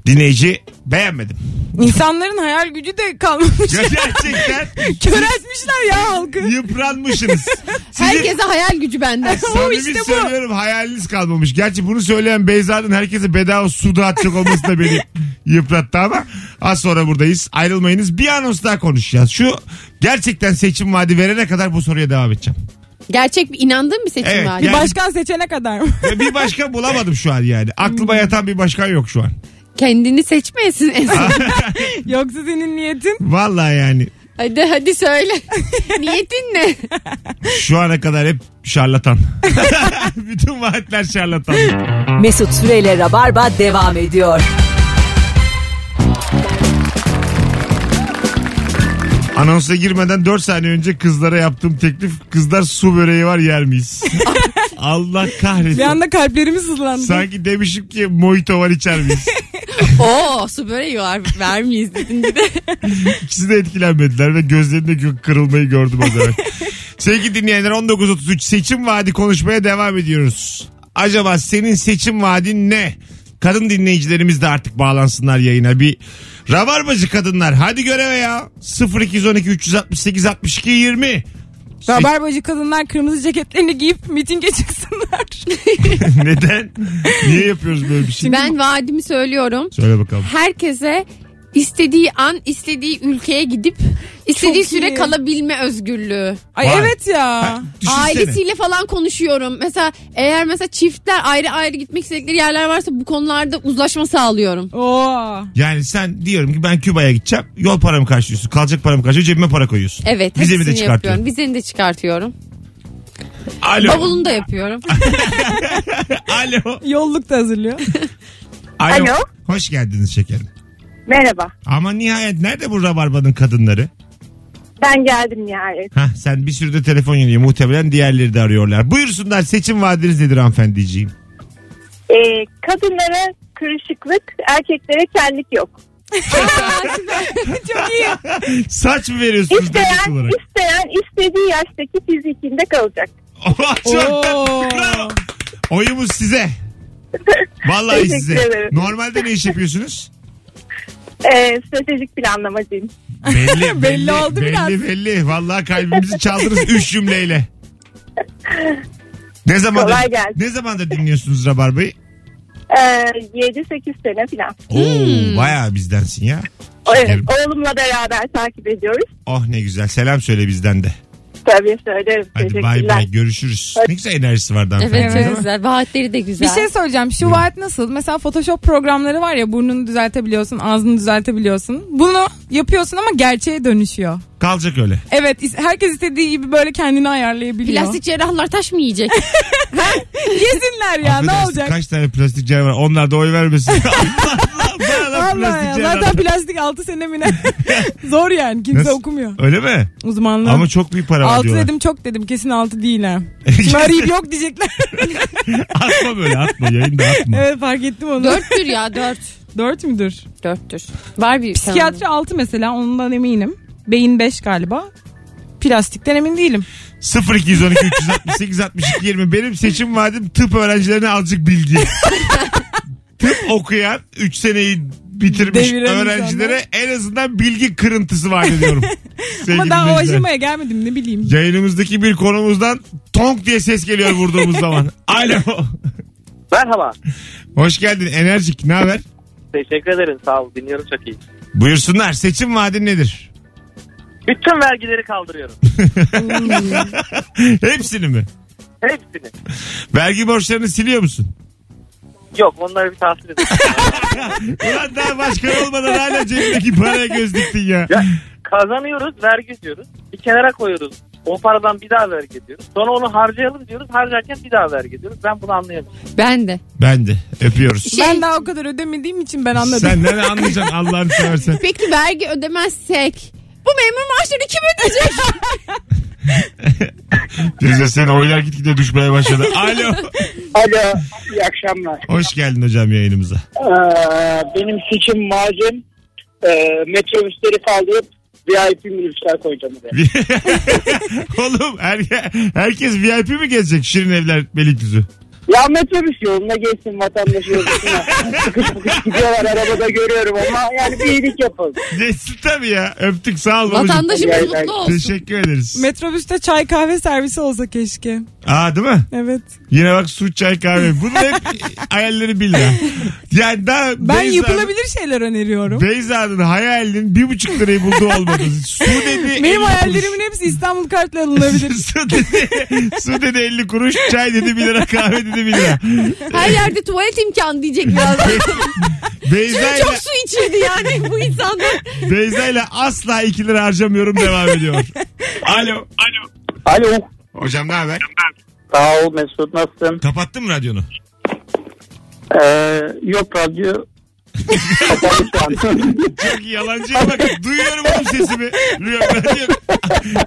Speaker 2: Dinleyici beğenmedim.
Speaker 3: İnsanların hayal gücü de kalmamış.
Speaker 2: Gerçekten
Speaker 3: [laughs] Köreltmişler ya halkı.
Speaker 2: yıpranmışsınız. Sizin-
Speaker 4: Herkese hayal gücü bende.
Speaker 3: O
Speaker 2: Samimi
Speaker 3: işte bu.
Speaker 2: söylüyorum hayaliniz kalmamış. Gerçi bunu söyleyen Beyza'nın herkese bedava su dağıtacak olması da
Speaker 3: [laughs]
Speaker 2: beni yıprattı ama az sonra buradayız. Ayrılmayınız. Bir anons daha konuşacağız. Şu gerçekten seçim vaadi verene kadar bu soruya devam edeceğim.
Speaker 4: Gerçek bir inandığın bir seçim
Speaker 2: Evet,
Speaker 4: var.
Speaker 2: yani-
Speaker 3: Başkan seçene kadar mı?
Speaker 2: Ve bir başka bulamadım şu an yani.
Speaker 3: Hmm.
Speaker 2: Aklıma yatan bir başkan yok şu an.
Speaker 4: Kendini seçmeyesin Esin.
Speaker 3: [laughs] Yoksa senin niyetin?
Speaker 2: Vallahi yani
Speaker 4: hadi
Speaker 2: [laughs]
Speaker 4: hadi söyle. Niyetin ne?
Speaker 2: şu ana kadar hep şarlatan. [laughs] Bütün vaatler şarlatan.
Speaker 1: Mesut Süreyle Rabarba devam ediyor.
Speaker 2: Anonsa girmeden 4 saniye önce kızlara yaptığım teklif kızlar su böreği var yer
Speaker 3: [laughs]
Speaker 2: miyiz? Allah kahretsin.
Speaker 3: Bir anda kalplerimiz hızlandı.
Speaker 2: Sanki demişim ki mojito var içer miyiz?
Speaker 4: Oo su böreği
Speaker 3: [laughs]
Speaker 4: var. Vermeyiz dedin bir de.
Speaker 2: İkisi de etkilenmediler ve gözlerinde gö- kırılmayı gördüm az evvel. Sevgili dinleyenler 19.33 seçim vaadi konuşmaya devam ediyoruz. Acaba senin seçim vaadin ne? Kadın dinleyicilerimiz de artık bağlansınlar yayına. Bir rabarbacı kadınlar hadi göreve ya. 0212 368 62 20.
Speaker 3: Rabarbacı kadınlar kırmızı ceketlerini giyip mitinge
Speaker 2: [laughs]
Speaker 3: çıksınlar.
Speaker 2: [laughs] Neden? Niye yapıyoruz böyle bir şey?
Speaker 4: Ben vaadimi söylüyorum.
Speaker 2: Söyle bakalım.
Speaker 4: herkese istediği an istediği ülkeye gidip istediği
Speaker 3: Çok
Speaker 4: süre
Speaker 3: iyi.
Speaker 4: kalabilme özgürlüğü.
Speaker 3: Ay
Speaker 2: Vay.
Speaker 3: evet ya.
Speaker 2: Düşünsene.
Speaker 4: Ailesiyle falan konuşuyorum. Mesela eğer mesela çiftler ayrı ayrı gitmek istedikleri yerler varsa bu konularda uzlaşma sağlıyorum.
Speaker 3: Oo.
Speaker 2: Yani sen diyorum ki ben Küba'ya gideceğim. Yol paramı karşılıyorsun. Kalacak paramı karşılıyor. Cebime para koyuyorsun. Vizemi
Speaker 4: Evet,
Speaker 2: de
Speaker 4: hepsini yapıyorum.
Speaker 2: çıkartıyorum.
Speaker 4: Vizeni de çıkartıyorum.
Speaker 2: Alo.
Speaker 4: Bavulunu da
Speaker 3: [laughs]
Speaker 4: yapıyorum.
Speaker 2: Alo.
Speaker 3: Yolluk
Speaker 2: [laughs]
Speaker 3: da hazırlıyor.
Speaker 2: Alo.
Speaker 8: Alo.
Speaker 2: Hoş geldiniz şekerim.
Speaker 8: Merhaba.
Speaker 2: Ama nihayet nerede bu rabarbanın kadınları?
Speaker 8: Ben geldim nihayet.
Speaker 2: Hah, sen bir sürü de telefon geliyor. Muhtemelen diğerleri de arıyorlar. Buyursunlar seçim vaadiniz nedir hanımefendiciğim?
Speaker 8: Ee, kadınlara kırışıklık, erkeklere kellik yok.
Speaker 3: Çok iyi.
Speaker 2: Saç mı veriyorsunuz demek
Speaker 8: İsteyen,
Speaker 2: olarak?
Speaker 8: [laughs] isteyen istediği yaştaki fizikinde kalacak.
Speaker 2: Oh, Çok da-
Speaker 3: Oo.
Speaker 2: Bravo. Oyumuz size. Vallahi
Speaker 8: Teşekkür
Speaker 2: size.
Speaker 8: ederim.
Speaker 2: Normalde ne iş yapıyorsunuz?
Speaker 8: Ee, stratejik planlamacıyım.
Speaker 3: [laughs]
Speaker 2: Belli, belli,
Speaker 3: Belli oldu
Speaker 2: belli,
Speaker 3: biraz.
Speaker 2: Belli Vallahi kalbimizi çaldınız üç cümleyle. Ne
Speaker 8: Kolay
Speaker 2: zamandır,
Speaker 8: gelsin.
Speaker 2: ne zamandır dinliyorsunuz Rabarba'yı?
Speaker 8: Ee, 7-8 sene falan.
Speaker 2: Oo,
Speaker 3: Hmm.
Speaker 2: bayağı bizdensin ya.
Speaker 8: Evet,
Speaker 2: Şekerim.
Speaker 8: oğlumla beraber takip ediyoruz.
Speaker 2: Oh ne güzel. Selam söyle bizden de.
Speaker 8: Tabii söylerim.
Speaker 2: Hadi
Speaker 8: Teşekkürler.
Speaker 2: bay bay görüşürüz. Ne güzel enerjisi vardı hanımefendi.
Speaker 4: Evet,
Speaker 3: Evet.
Speaker 4: çok güzel. Vaatleri de
Speaker 3: Bir
Speaker 4: güzel.
Speaker 3: şey söyleyeceğim. Şu vaat nasıl? Mesela Photoshop programları var ya burnunu düzeltebiliyorsun, ağzını düzeltebiliyorsun. Bunu yapıyorsun ama gerçeğe dönüşüyor.
Speaker 2: Kalacak öyle.
Speaker 3: Evet is- herkes istediği gibi böyle kendini ayarlayabiliyor.
Speaker 4: Plastik cerrahlar taş mı yiyecek?
Speaker 3: [laughs] Yesinler ya ne
Speaker 2: Affedersin,
Speaker 3: olacak?
Speaker 2: Kaç tane plastik cerrah var. Onlar da oy
Speaker 3: [laughs]
Speaker 2: vermesin. Allah Allah. Bana da
Speaker 3: Vallahi
Speaker 2: plastik
Speaker 3: ya,
Speaker 2: cerrah.
Speaker 3: zaten plastik 6 sene [laughs] mi ne? Zor yani kimse
Speaker 2: Nasıl?
Speaker 3: okumuyor.
Speaker 2: Öyle mi?
Speaker 3: Uzmanlar.
Speaker 2: Ama çok büyük para var
Speaker 3: 6
Speaker 2: diyorlar.
Speaker 3: dedim çok dedim kesin 6
Speaker 2: [laughs]
Speaker 3: değil ha. Şimdi arayıp yok diyecekler.
Speaker 2: atma böyle atma yayında atma.
Speaker 3: [laughs] evet fark ettim onu. 4,
Speaker 4: Dörttür ya dört.
Speaker 3: müdür?
Speaker 4: Dörttür. Var bir
Speaker 3: Psikiyatri 6 mesela ondan eminim. Beyin 5 galiba. Plastikten emin değilim.
Speaker 2: 0212 368 62 20 benim seçim vaadim tıp öğrencilerine azıcık
Speaker 3: [laughs]
Speaker 2: bilgi. tıp okuyan 3 seneyi bitirmiş
Speaker 3: Deviren
Speaker 2: öğrencilere en azından bilgi kırıntısı var diyorum.
Speaker 3: [laughs] Ama
Speaker 2: Sevgili
Speaker 3: daha o
Speaker 2: dinleyiciler.
Speaker 3: aşamaya gelmedim ne bileyim.
Speaker 2: Yayınımızdaki bir konumuzdan tonk diye ses geliyor vurduğumuz
Speaker 3: [laughs]
Speaker 2: zaman. Alo.
Speaker 9: Merhaba.
Speaker 2: Hoş geldin enerjik ne haber?
Speaker 9: Teşekkür ederim sağ ol dinliyorum çok iyi.
Speaker 2: Buyursunlar seçim vaadin nedir?
Speaker 9: Bütün vergileri kaldırıyorum.
Speaker 2: [laughs] Hepsini mi?
Speaker 9: Hepsini.
Speaker 2: Vergi borçlarını siliyor musun? [laughs]
Speaker 9: Yok onları bir tahsil edin.
Speaker 2: Ulan daha başkan olmadan hala cebindeki paraya göz diktin ya.
Speaker 9: Ya, Kazanıyoruz vergi diyoruz. Bir kenara koyuyoruz. O paradan bir daha vergi ediyoruz. Sonra onu harcayalım diyoruz. Harcarken bir daha vergi ediyoruz. Ben bunu anlayamıyorum.
Speaker 4: Ben de.
Speaker 2: Ben de öpüyoruz.
Speaker 4: Şey-
Speaker 3: Ben daha o kadar ödemediğim için ben anladım.
Speaker 2: Sen nereden anlayacaksın Allah'ını [laughs] seversen.
Speaker 4: Peki vergi ödemezsek bu memur maaşları kim
Speaker 2: [laughs]
Speaker 4: ödeyecek?
Speaker 2: Teyze senin oylar gitgide düşmeye başladı. Alo.
Speaker 7: Alo, iyi akşamlar.
Speaker 2: Hoş geldin hocam yayınımıza. [laughs]
Speaker 7: Ee, benim seçim macim e, metrobüsleri kaldırıp VIP minibüsler koyacağım oraya.
Speaker 2: Oğlum her, herkes VIP mi gezecek Şirin Evler Beylikdüzü?
Speaker 7: Ya metrobüs yoluna geçsin
Speaker 2: [laughs]
Speaker 7: vatandaş yolcusuna. Sıkış sıkış gidiyorlar arabada görüyorum ama yani bir iyilik yapalım.
Speaker 2: Geçsin tabii ya. Öptük sağ ol babacığım.
Speaker 4: Vatandaşımız
Speaker 7: Gel, gel.
Speaker 4: mutlu olsun.
Speaker 2: Teşekkür ederiz.
Speaker 3: Metrobüste çay kahve servisi olsa keşke.
Speaker 2: Aa değil mi?
Speaker 3: Evet.
Speaker 2: Yine bak su çay kahve. Bunun hep [laughs] hayalleri billah. Yani daha
Speaker 3: Ben
Speaker 2: Beyza'nın-
Speaker 3: yapılabilir şeyler öneriyorum.
Speaker 2: Beyza'nın hayalinin bir buçuk lirayı bulduğu olmadı. Su dedi.
Speaker 3: Benim
Speaker 2: 50
Speaker 3: hayallerimin hepsi İstanbul
Speaker 2: [laughs]
Speaker 3: kartla alınabilir.
Speaker 2: su dedi,
Speaker 4: [laughs]
Speaker 2: su dedi 50 kuruş, çay dedi 1 lira, kahve dedi 1 lira.
Speaker 4: Her yerde tuvalet imkanı diyecek biraz.
Speaker 2: Beyza ile,
Speaker 4: Çok su içirdi yani bu insanlar.
Speaker 2: Beyza ile asla 2 lira harcamıyorum devam ediyor. Alo. Alo.
Speaker 7: Alo.
Speaker 2: Hocam ne haber?
Speaker 7: Sağ ol Mesut nasılsın?
Speaker 2: Kapattın mı radyonu?
Speaker 7: Ee, yok radyo kapalı şu an.
Speaker 2: [laughs] Çok iyi, yalancıya bak. Duyuyorum oğlum sesimi. Duyuyorum.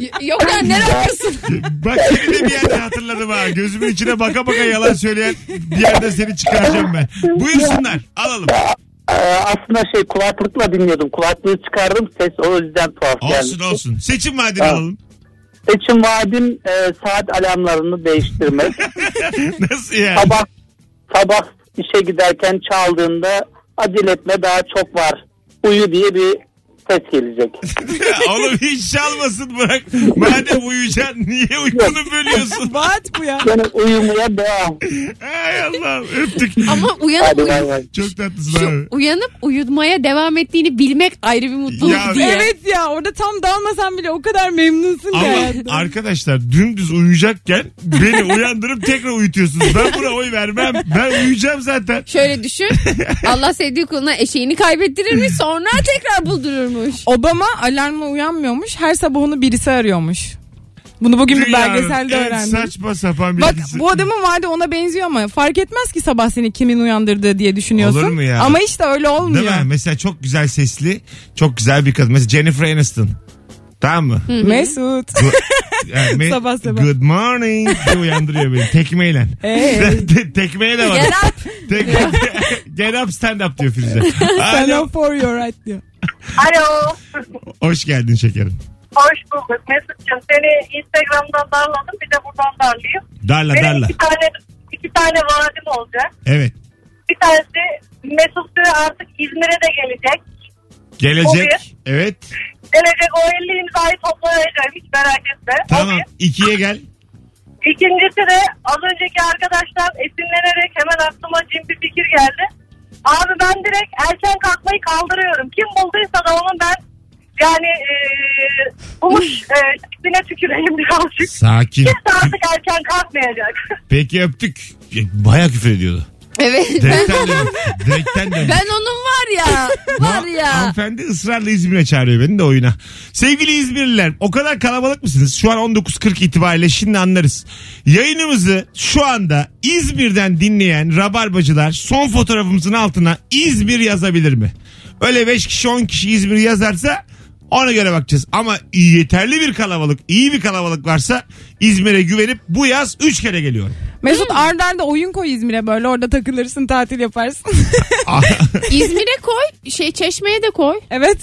Speaker 4: Y- Yok ya ne yapıyorsun?
Speaker 2: Bak seni de bir yerde hatırladım ha. Gözümün içine baka baka yalan söyleyen bir yerde seni çıkaracağım ben. Buyursunlar. Alalım.
Speaker 7: Ee, aslında şey kulaklıkla dinliyordum. Kulaklığı çıkardım ses o yüzden tuhaf
Speaker 2: Olsun
Speaker 7: geldi.
Speaker 2: olsun. Seçim vaadini alalım. [laughs]
Speaker 7: Seçim vaadim e, saat alarmlarını değiştirmek.
Speaker 2: Nasıl yani?
Speaker 7: sabah sabah işe giderken çaldığında acele etme daha çok var. Uyu diye bir ses gelecek.
Speaker 2: Oğlum hiç çalmasın bırak. Madem uyuyacaksın niye uykunu bölüyorsun?
Speaker 3: [laughs] Vaat bu ya.
Speaker 7: Yani uyumaya devam.
Speaker 2: Ay Allah öptük.
Speaker 4: Ama uyanıp,
Speaker 7: Hadi
Speaker 4: uyu-
Speaker 7: bay bay.
Speaker 2: Çok tatlısın
Speaker 4: şu,
Speaker 2: abi.
Speaker 4: uyanıp uyumaya devam ettiğini bilmek ayrı bir mutluluk
Speaker 2: Ya-
Speaker 4: diye.
Speaker 3: Evet ya orada tam dalmasan bile o kadar memnunsun ki
Speaker 2: Ama
Speaker 3: hayattan.
Speaker 2: arkadaşlar dümdüz uyuyacakken beni uyandırıp tekrar uyutuyorsunuz. Ben buna oy vermem. Ben uyuyacağım zaten.
Speaker 4: Şöyle
Speaker 2: [laughs]
Speaker 4: düşün. Allah sevdiği kuluna eşeğini kaybettirirmiş sonra tekrar buldururmuş.
Speaker 3: Obama alarmla uyanmıyormuş. Her sabah onu birisi arıyormuş. Bunu bugün bir
Speaker 2: Dünyanın
Speaker 3: belgeselde
Speaker 2: en
Speaker 3: öğrendim.
Speaker 2: Saçma sapan bir
Speaker 3: Bak
Speaker 2: ikisi.
Speaker 3: bu adamın vaadi ona benziyor ama fark etmez ki sabah seni kimin uyandırdığı diye düşünüyorsun.
Speaker 2: Olur mu ya?
Speaker 3: Ama işte öyle olmuyor.
Speaker 2: Değil mi? Mesela çok güzel sesli, çok güzel bir kadın. Mesela Jennifer Aniston. Tamam mı?
Speaker 3: [laughs] Mesut.
Speaker 2: Bu- Yani
Speaker 3: Sabah sabah.
Speaker 2: Good morning diye uyandırıyor beni tekmeyle.
Speaker 3: Hey.
Speaker 2: [laughs] Te- Tekmeye de var.
Speaker 4: Get up.
Speaker 2: [laughs] Tek- Get up stand up diyor Firuze.
Speaker 3: Sen
Speaker 2: Alo.
Speaker 3: o for your right diyor.
Speaker 8: Alo.
Speaker 2: Hoş geldin şekerim.
Speaker 8: Hoş bulduk Mesut'cum. Seni Instagram'dan darladım bir de buradan darlayayım.
Speaker 2: Darla
Speaker 8: Benim
Speaker 2: darla.
Speaker 8: iki tane, iki tane vaadim olacak.
Speaker 2: Evet.
Speaker 8: Bir tanesi Mesut Süre artık İzmir'e de gelecek.
Speaker 2: Gelecek.
Speaker 8: Oluyor.
Speaker 2: Evet.
Speaker 8: Gelecek o 50 imzayı toplayacağım hiç merak etme. O
Speaker 2: Tamam.
Speaker 8: bir.
Speaker 2: ikiye gel.
Speaker 8: İkincisi de az önceki arkadaştan esinlenerek hemen aklıma cin bir fikir geldi. Abi ben direkt erken kalkmayı kaldırıyorum. Kim bulduysa da onun ben yani eee bulmuş eee, [laughs] tipine tüküreyim birazcık.
Speaker 2: Sakin.
Speaker 8: Kimse artık erken kalkmayacak. [laughs]
Speaker 2: Peki öptük. Baya küfür ediyordu.
Speaker 4: [laughs] Evet. Ben,
Speaker 2: Direkten dön. Direkten dön.
Speaker 4: ben onun var ya. Var
Speaker 2: Ha-
Speaker 4: ya.
Speaker 2: Hanımefendi ısrarla İzmir'e çağırıyor beni de oyuna. Sevgili İzmirliler o kadar kalabalık mısınız? Şu an 19.40 itibariyle şimdi anlarız. Yayınımızı şu anda İzmir'den dinleyen rabarbacılar son fotoğrafımızın altına İzmir yazabilir mi? Öyle 5 kişi 10 kişi İzmir yazarsa ona göre bakacağız. Ama yeterli bir kalabalık, iyi bir kalabalık varsa İzmir'e güvenip bu yaz 3 kere
Speaker 4: [laughs]
Speaker 2: geliyorum.
Speaker 3: Mesut arda arda oyun koy İzmir'e böyle orada takılırsın tatil yaparsın. [laughs]
Speaker 4: İzmir'e koy. Şey çeşmeye de koy.
Speaker 3: evet.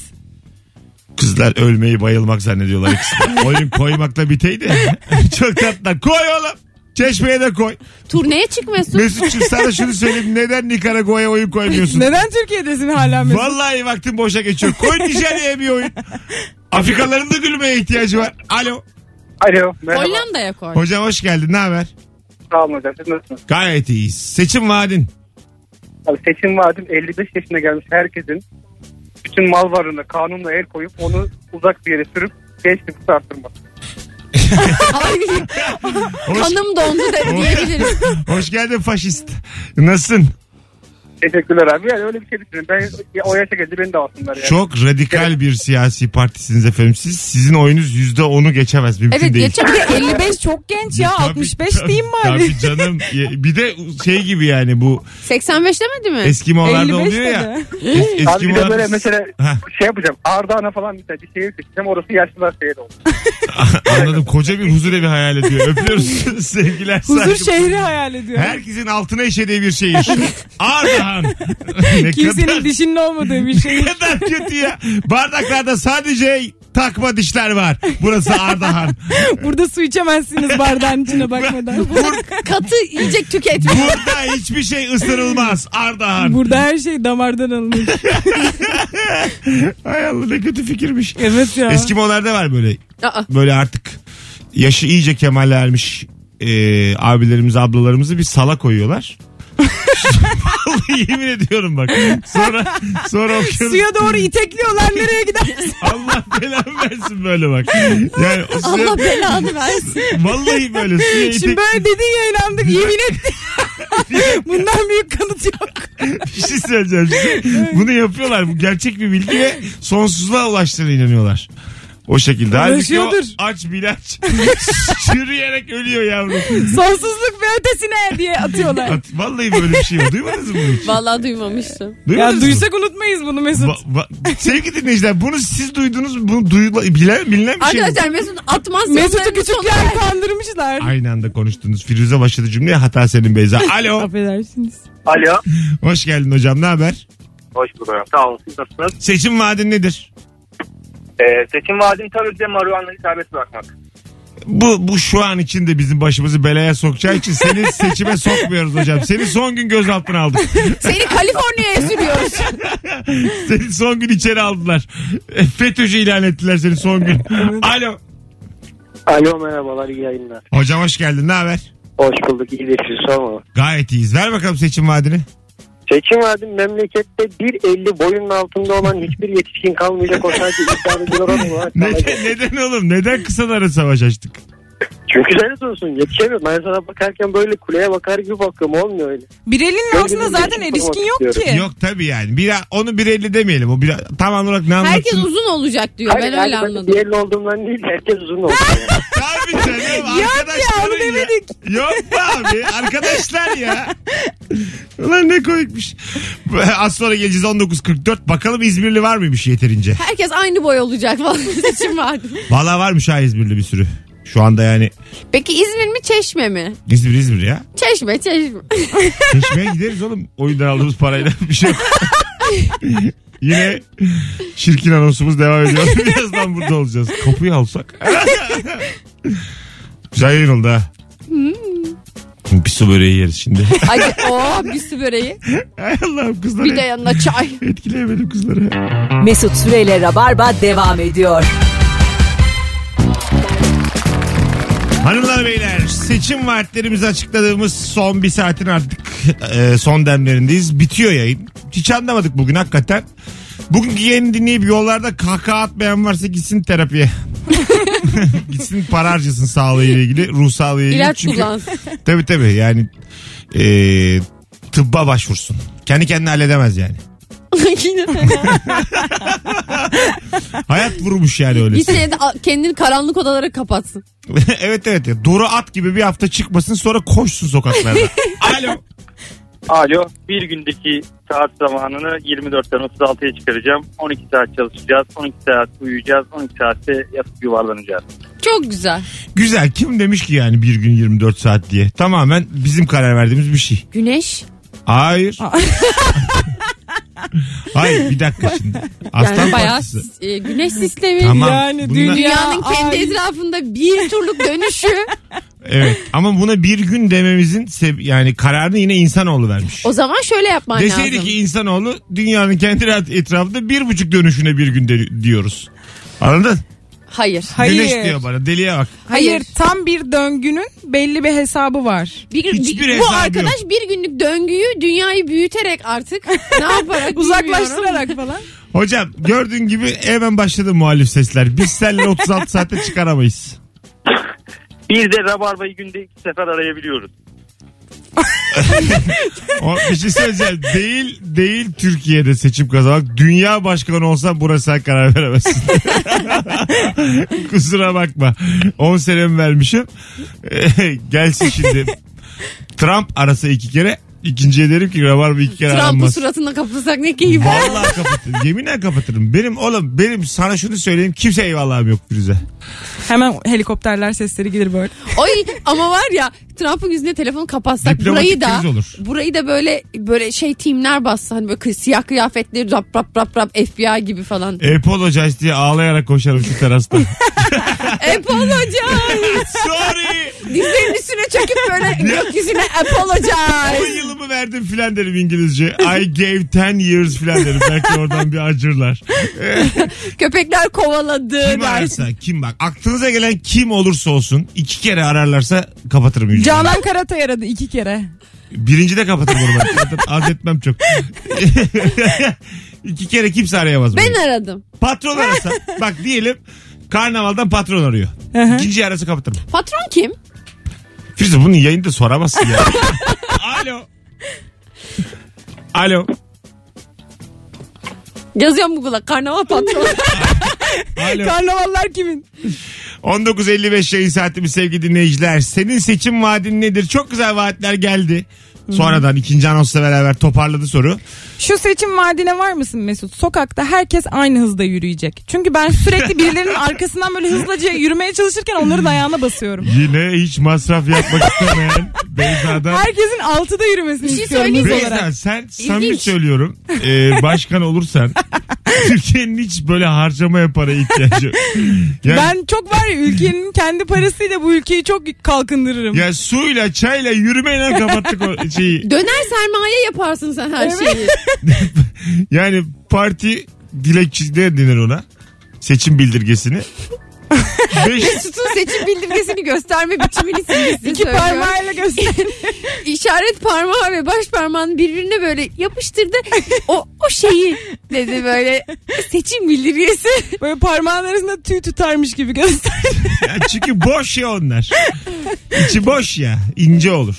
Speaker 2: Kızlar ölmeyi bayılmak zannediyorlar ikisi. de. Oyun koymakla biteydi. [laughs] Çok tatlılar. Koy oğlum. Çeşmeye de koy.
Speaker 4: Turneye çık Mesut.
Speaker 2: Mesut'cum sana şunu söyleyeyim. Neden Nikaragua'ya oyun koymuyorsun?
Speaker 3: Neden Türkiye'desin hala Mesut?
Speaker 2: Vallahi vaktim boşa geçiyor. Koy Nijerya'ya bir oyun. Afrikaların da gülmeye ihtiyacı var. Alo.
Speaker 6: Alo. Merhaba.
Speaker 4: Hollanda'ya koy.
Speaker 2: Hocam hoş geldin. Ne haber?
Speaker 6: Sağ olun hocam. Siz nasılsınız?
Speaker 2: Gayet iyiyiz. Seçim vaadin.
Speaker 6: Abi seçim vaadim 55 yaşına gelmiş herkesin bütün mal varlığına kanunla el koyup onu uzak bir yere sürüp genç nüfusu arttırmak.
Speaker 4: Ay,
Speaker 2: Hoş,
Speaker 4: kanım dondu de, diyebiliriz.
Speaker 2: [laughs] hoş geldin faşist. Nasılsın?
Speaker 6: Teşekkürler abi. Yani öyle bir şey düşünün. Ben ya o yaşa geldi beni de alsınlar yani.
Speaker 2: Çok radikal bir siyasi partisiniz efendim. Siz, sizin oyunuz %10'u geçemez. Mümkün
Speaker 4: Evet
Speaker 2: değil.
Speaker 4: geçen
Speaker 3: 55 çok genç ya
Speaker 2: Tabii,
Speaker 3: 65
Speaker 2: tabii,
Speaker 3: diyeyim bari.
Speaker 2: Tabii canım. Ye- Bir de şey gibi yani bu
Speaker 4: 85 demedi mi?
Speaker 2: Eskimolarda
Speaker 3: 55
Speaker 2: oluyor ya.
Speaker 3: dedi.
Speaker 2: Es-
Speaker 6: Abi bir de
Speaker 2: Eskimolar-
Speaker 6: böyle mesela
Speaker 2: Heh.
Speaker 6: şey yapacağım. Ardahan'a falan mesela bir şehir seçeceğim. Orası yaşlılar şehir oldu.
Speaker 2: [laughs] Anladım. Koca bir huzur evi hayal ediyor. Öpüyoruz [laughs] sevgiler.
Speaker 3: [laughs] Huzur şey-
Speaker 2: saygı-
Speaker 3: şehri hayal ediyor.
Speaker 2: Herkesin altına işediği bir şey
Speaker 3: [laughs]
Speaker 2: şehir. Ardahan. ne kadar,
Speaker 3: Kimsenin dişinin olmadığı
Speaker 2: [laughs]
Speaker 3: bir
Speaker 2: ne [laughs]
Speaker 3: şey.
Speaker 2: kadar kötü ya. Bardaklarda sadece takma dişler var. Burası
Speaker 3: [laughs]
Speaker 2: Ardahan.
Speaker 3: Burada su içemezsiniz bardağın içine bakmadan.
Speaker 2: [laughs]
Speaker 4: Katı yiyecek tüket.
Speaker 2: Burada hiçbir şey ısırılmaz. Ardahan.
Speaker 3: Burada her şey
Speaker 2: [laughs]
Speaker 3: damardan alınır.
Speaker 2: Ay Allah ne kötü fikirmiş.
Speaker 3: Evet ya.
Speaker 2: Eskimolarda var böyle
Speaker 4: [laughs] Aa,
Speaker 2: böyle artık yaşı iyice kemale ermiş e, abilerimizi ablalarımızı bir sala koyuyorlar. Vallahi [laughs] yemin ediyorum bak. Sonra sonra okuyoruz.
Speaker 3: Suya doğru itekliyorlar nereye gider?
Speaker 2: Allah belanı versin böyle bak. Yani o suya,
Speaker 4: Allah belanı versin.
Speaker 2: vallahi böyle suya
Speaker 3: Şimdi
Speaker 2: itek
Speaker 3: böyle dedin ya inandık yemin ettim. Bundan büyük kanıt yok.
Speaker 2: [laughs] bir şey söyleyeceğim size. Bunu yapıyorlar. Bu gerçek bir bilgi ve sonsuzluğa ulaştığına inanıyorlar. O şekilde. Halbuki o
Speaker 3: Ulaşıyordur.
Speaker 2: aç bilaç [laughs] yürüyerek ölüyor yavrum.
Speaker 3: Sonsuzluk ve ötesine diye atıyorlar.
Speaker 2: At- Vallahi böyle bir şey yok. Duymadınız mı bunu hiç?
Speaker 4: Vallahi duymamıştım.
Speaker 2: Duymadınız
Speaker 3: Ya
Speaker 2: mı?
Speaker 3: duysak unutmayız bunu Mesut.
Speaker 2: Va- va- sevgili dinleyiciler bunu siz duydunuz mu? Bunu duyula, bilen, bilinen bir şey mi?
Speaker 4: Arkadaşlar Mesut atmaz.
Speaker 3: Mesut'u
Speaker 4: yollarını
Speaker 3: küçükken kandırmışlar.
Speaker 2: Aynı anda konuştunuz. Firuze başladı cümleye hata senin Beyza. Alo.
Speaker 3: Affedersiniz.
Speaker 9: Alo.
Speaker 2: Hoş geldin hocam ne haber?
Speaker 9: Hoş bulduk. hocam. Sağ olun. Siz nasılsınız?
Speaker 2: Seçim vaadin nedir?
Speaker 9: Ee, seçim vaadim tabii ki de marihuanayı serbest bırakmak.
Speaker 2: Bu, bu şu an için de bizim başımızı belaya sokacağı için seni seçime sokmuyoruz hocam. Seni son gün gözaltına aldık.
Speaker 4: Seni Kaliforniya'ya sürüyoruz.
Speaker 2: Seni son gün içeri aldılar. E, FETÖ'cü ilan ettiler seni son gün. Alo.
Speaker 10: Alo merhabalar iyi yayınlar.
Speaker 2: Hocam hoş geldin ne haber?
Speaker 10: Hoş bulduk iyidir siz sorma.
Speaker 2: Gayet iyiyiz. Ver bakalım seçim vaadini.
Speaker 10: Seçim vaadim memlekette 1.50 boyunun altında olan hiçbir yetişkin kalmayacak o sadece iddia edilir olarak. kalacak.
Speaker 2: Neden, neden oğlum? Neden kısalara savaş açtık?
Speaker 10: Çünkü sen de olsun yetişemiyorum. Ben sana bakarken böyle kuleye bakar gibi bakıyorum olmuyor öyle.
Speaker 3: Bir elinin altında
Speaker 10: Gördüğünüz
Speaker 3: zaten
Speaker 10: gibi
Speaker 3: erişkin yok
Speaker 10: istiyorum.
Speaker 3: ki.
Speaker 2: Yok tabii yani. Bir, onu bir elli demeyelim. O bir, tam olarak ne anlatsın?
Speaker 4: Herkes uzun olacak diyor.
Speaker 10: Hayır,
Speaker 4: Ben
Speaker 10: yani
Speaker 4: öyle anladım.
Speaker 10: Bir elli olduğumdan değil herkes uzun
Speaker 4: [laughs]
Speaker 10: oldu.
Speaker 2: Tabii canım.
Speaker 3: [laughs] Yok ya,
Speaker 2: arkadaşların
Speaker 3: onu
Speaker 2: ya.
Speaker 3: demedik.
Speaker 2: Yok be abi. Arkadaşlar ya. Ulan ne komikmiş. Az sonra geleceğiz 19.44. Bakalım İzmirli var mıymış yeterince?
Speaker 4: Herkes aynı boy olacak falan [laughs] seçim vaadi.
Speaker 2: Valla varmış ha İzmirli bir sürü. Şu anda yani
Speaker 4: Peki İzmir mi Çeşme mi?
Speaker 2: İzmir İzmir ya.
Speaker 4: Çeşme Çeşme.
Speaker 2: Çeşmeye gideriz oğlum. Oyundan aldığımız parayla bir şey yok. Yine şirkin anonsumuz devam ediyor. [laughs] Birazdan burada olacağız. Kapıyı alsak. Güzel yayın oldu ha. Bir su böreği yeriz şimdi.
Speaker 4: Acı, o bir su böreği.
Speaker 2: Ay Allah'ım kızlar.
Speaker 4: Bir de yanına çay.
Speaker 2: Etkileyemedim kızları.
Speaker 1: Mesut Süreyle Rabarba devam ediyor.
Speaker 2: Hanımlar beyler seçim vaatlerimizi açıkladığımız son bir saatin artık e, son demlerindeyiz. Bitiyor yayın. Hiç anlamadık bugün hakikaten. Bugünkü yayını dinleyip yollarda kahkaha atmayan varsa gitsin terapiye. gitsin para harcasın sağlığıyla ilgili ruh sağlığıyla ilgili.
Speaker 4: İlaç
Speaker 2: Çünkü-
Speaker 4: [laughs] kullansın.
Speaker 2: Tabii tabii yani e, tıbba başvursun. Kendi kendine halledemez yani.
Speaker 4: Yine.
Speaker 2: Hayat vurmuş yani öyle.
Speaker 4: Bir senede a- kendini karanlık odalara kapatsın.
Speaker 2: [laughs] evet evet. ya. Duru at gibi bir hafta çıkmasın sonra koşsun sokaklarda. Alo.
Speaker 9: Alo. Bir gündeki saat zamanını 24'ten 36'ya çıkaracağım. 12 saat çalışacağız. 12 saat uyuyacağız. 12 saatte yatıp yuvarlanacağız.
Speaker 4: Çok güzel.
Speaker 2: Güzel. Kim demiş ki yani bir gün 24 saat diye? Tamamen bizim karar verdiğimiz bir şey.
Speaker 4: Güneş. [laughs]
Speaker 2: Hayır. Hayır bir dakika şimdi. Aslan
Speaker 4: Yani bayağı
Speaker 2: parçası.
Speaker 4: sis- e, güneş sistemi.
Speaker 2: Tamam.
Speaker 3: Yani
Speaker 2: Bunlar-
Speaker 3: dünya-
Speaker 4: Dünyanın
Speaker 3: Ya,
Speaker 4: kendi
Speaker 3: ay.
Speaker 4: etrafında bir turluk dönüşü.
Speaker 2: Evet ama buna bir gün dememizin seb- yani kararını yine insanoğlu vermiş.
Speaker 4: o zaman şöyle yapman
Speaker 2: Deseydi
Speaker 4: lazım.
Speaker 2: ki insanoğlu dünyanın kendi et- etrafında bir buçuk dönüşüne bir gün de- diyoruz. Anladın?
Speaker 4: Hayır.
Speaker 3: Hayır.
Speaker 2: Güneş diyor bana deliye bak.
Speaker 3: Hayır.
Speaker 4: Hayır.
Speaker 3: tam bir döngünün belli bir hesabı var.
Speaker 4: Bir, bir-
Speaker 2: Hiçbir hesabı
Speaker 4: bu
Speaker 2: yok.
Speaker 4: arkadaş bir günlük döngüyü dünyayı büyüterek artık ne [laughs] yaparak bilmiyorum.
Speaker 3: Uzaklaştırarak falan.
Speaker 2: Hocam gördüğün gibi hemen başladı muhalif sesler. Biz seninle 36 saatte çıkaramayız.
Speaker 9: Bir de rabarbayı günde iki sefer arayabiliyoruz.
Speaker 2: O, bir şey söyleyeceğim. Değil, değil Türkiye'de seçim kazanmak. Dünya başkanı olsan buna sen karar veremezsin. [laughs] Kusura bakma. 10 senemi vermişim. [laughs] Gelsin şimdi. Trump arasa iki kere. İkinciye derim ki rabarba iki kere
Speaker 4: Trump'ı
Speaker 2: aranmaz.
Speaker 4: suratına kapatsak ne keyif.
Speaker 2: Vallahi kapatırım. Yeminle kapatırım. Benim oğlum benim sana şunu söyleyeyim. Kimse eyvallahım yok Firuze.
Speaker 3: Hemen helikopterler sesleri gelir böyle.
Speaker 4: Oy ama var ya Trump'ın yüzüne telefonu kapatsak
Speaker 2: Diplomatik
Speaker 4: burayı da
Speaker 2: kriz olur.
Speaker 4: burayı da böyle böyle şey timler bassa hani böyle kı- siyah kıyafetleri rap rap rap rap FBI gibi [laughs] falan.
Speaker 2: Apollo Joyce diye ağlayarak koşarım şu terasta. [laughs]
Speaker 4: Apologize.
Speaker 2: Sorry.
Speaker 4: Dizlerinin üstüne çekip böyle gökyüzüne
Speaker 2: 10
Speaker 4: apologize.
Speaker 2: yılımı verdim filan derim İngilizce. I gave 10 years filan derim. Belki oradan bir acırlar.
Speaker 4: Köpekler kovaladı.
Speaker 2: Kim
Speaker 4: dersin.
Speaker 2: ararsa kim bak. Aklınıza gelen kim olursa olsun iki kere ararlarsa kapatırım. yüzünü.
Speaker 3: Canan Karatay aradı iki kere.
Speaker 2: Birinci de kapatırım onu ben. Zaten Az etmem çok. [laughs] iki kere kimse arayamaz.
Speaker 4: Ben
Speaker 2: beni.
Speaker 4: aradım.
Speaker 2: Patron arasa. Bak diyelim karnavaldan patron arıyor. İkinci arası kapatırım.
Speaker 4: Patron kim?
Speaker 2: Firuze bunun yayında soramazsın ya. Alo. Alo.
Speaker 4: Yazıyorum Google'a karnaval patronu.
Speaker 2: Alo.
Speaker 3: Karnavallar kimin?
Speaker 2: 19.55 yayın saatimiz sevgili dinleyiciler. Senin seçim vaadin nedir? Çok güzel vaatler geldi. Sonradan ikinci anonsla beraber toparladı soru.
Speaker 3: Şu seçim vaadine var mısın Mesut? Sokakta herkes aynı hızda yürüyecek. Çünkü
Speaker 2: [laughs]
Speaker 3: ben sürekli birilerinin arkasından böyle hızlıca yürümeye çalışırken onların ayağına basıyorum.
Speaker 2: Yine hiç masraf yapmak [laughs] istemeyen Beyza'dan.
Speaker 3: Herkesin altıda yürümesini
Speaker 4: şey
Speaker 3: istiyorum hız
Speaker 4: söyleyeyim mi?
Speaker 2: Beyza
Speaker 3: olarak.
Speaker 2: sen samimi
Speaker 4: İlginç.
Speaker 2: söylüyorum. Ee, başkan olursan Türkiye'nin hiç böyle harcamaya para ihtiyacı yok. Yani,
Speaker 3: Ben çok var ya ülkenin kendi parasıyla bu ülkeyi çok kalkındırırım.
Speaker 2: Ya suyla çayla yürümeyle kapattık o şeyi.
Speaker 4: [laughs] Döner sermaye yaparsın sen her şeyi.
Speaker 2: Yani parti dilekçesi ne denir ona? Seçim bildirgesini. Beş,
Speaker 4: Mesut'un seçim bildirgesini gösterme biçimini size
Speaker 3: İki
Speaker 4: söylüyorum.
Speaker 3: parmağıyla [laughs] göster.
Speaker 4: işaret parmağı ve baş parmağını birbirine böyle yapıştırdı. O o şeyi dedi böyle seçim bildirgesi.
Speaker 3: Böyle parmağın arasında tüy tutarmış gibi göster.
Speaker 2: ya çünkü boş ya onlar. İçi boş ya. ince olur.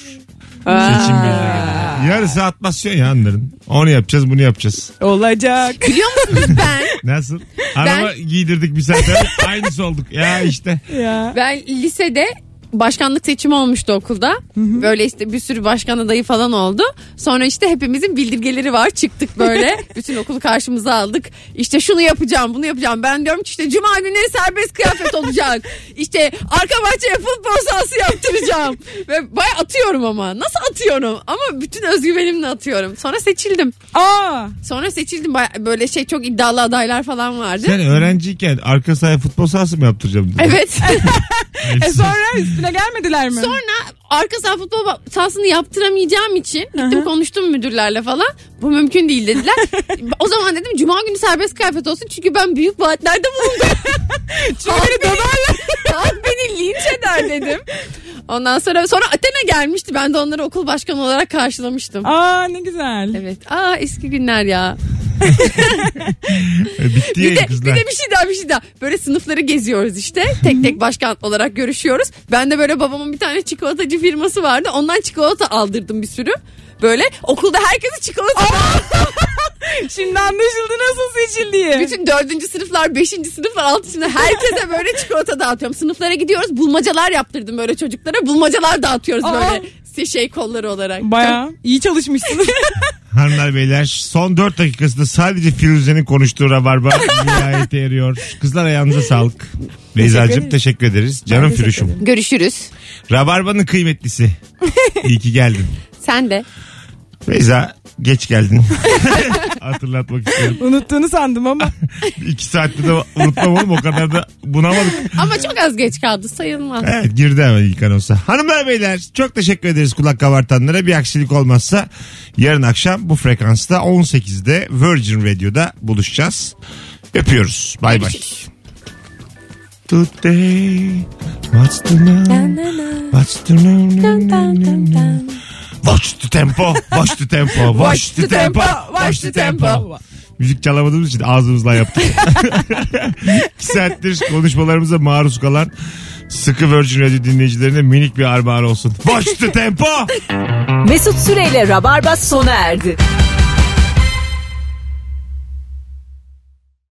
Speaker 2: Seçim bildirgeleri. Yarısı atmasyon ya onların. Onu yapacağız bunu yapacağız.
Speaker 3: [laughs] Olacak.
Speaker 4: Biliyor musunuz ben?
Speaker 2: Nasıl? Araba giydirdik bir saat. evvel, Aynısı olduk. Ya işte.
Speaker 3: Ya.
Speaker 4: Ben lisede başkanlık seçimi olmuştu okulda. Böyle işte bir sürü başkan adayı falan oldu. Sonra işte hepimizin bildirgeleri var. Çıktık böyle. Bütün okulu karşımıza aldık. İşte şunu yapacağım, bunu yapacağım. Ben diyorum ki işte cuma günleri serbest kıyafet olacak. İşte arka bahçeye futbol sahası yaptıracağım. Ve bayağı atıyorum ama. Nasıl atıyorum? Ama bütün özgüvenimle atıyorum. Sonra seçildim.
Speaker 3: Aa.
Speaker 4: Sonra seçildim. Bayağı Böyle şey çok iddialı adaylar falan vardı.
Speaker 2: Sen öğrenciyken arka sahaya futbol sahası mı yaptıracağım? dedi.
Speaker 4: Evet.
Speaker 3: E sonra üstüne gelmediler mi?
Speaker 4: Sonra arka saha futbol sahasını yaptıramayacağım için gittim konuştum müdürlerle falan. Bu mümkün değil [laughs] dediler. o zaman dedim cuma günü serbest kıyafet olsun çünkü ben büyük vaatlerde bulundum. çünkü beni döverler. Halk beni linç eder dedim. Ondan sonra sonra Athena gelmişti. Ben de onları okul başkanı olarak karşılamıştım.
Speaker 3: Aa ne güzel.
Speaker 4: Evet. Aa eski günler ya.
Speaker 2: E, Bitti
Speaker 4: Bir
Speaker 2: ya
Speaker 4: de, bir
Speaker 2: kızlar.
Speaker 4: de bir şey daha bir şey daha. Böyle sınıfları geziyoruz işte. Tek tek başkan olarak görüşüyoruz. Ben de böyle babamın bir tane çikolatacı firması vardı. Ondan çikolata aldırdım bir sürü. Böyle okulda herkese çikolata
Speaker 3: Şimdi anlaşıldı nasıl seçildiği.
Speaker 4: Bütün dördüncü sınıflar, beşinci sınıflar, altıncı sınıflar herkese böyle çikolata dağıtıyorum. Sınıflara gidiyoruz bulmacalar yaptırdım böyle çocuklara. Bulmacalar dağıtıyoruz
Speaker 3: Aa.
Speaker 4: böyle si- şey kolları olarak.
Speaker 3: Baya iyi [laughs] çalışmışsınız.
Speaker 2: Hanımlar beyler son 4 dakikasında sadece Firuze'nin konuştuğu rabarba nihayete eriyor. Kızlar ayağınıza sağlık. Beyza'cığım teşekkür ederiz. Canım Firuş'um.
Speaker 4: Görüşürüz.
Speaker 2: Rabarbanın kıymetlisi. İyi ki geldin.
Speaker 4: Sen de.
Speaker 2: Beyza geç geldin. [laughs] Hatırlatmak istiyorum.
Speaker 3: Unuttuğunu sandım ama.
Speaker 2: İki saatte de unutmam oğlum o kadar da bunamadık.
Speaker 4: Ama çok az geç kaldı sayılmaz.
Speaker 2: Evet girdi hemen ilk anonsa. Hanımlar beyler çok teşekkür ederiz kulak kabartanlara. Bir aksilik olmazsa yarın akşam bu frekansta 18'de Virgin Radio'da buluşacağız. Öpüyoruz. Bay bay. Today, what's the name? What's the name? Watch the tempo, watch the tempo, watch the tempo, watch the tempo. Müzik çalamadığımız için ağzımızla yaptık. [laughs] İki saattir konuşmalarımıza maruz kalan sıkı Virgin Radio dinleyicilerine minik bir armağan olsun. Watch the tempo.
Speaker 1: Mesut Süreyle Rabarba sona erdi.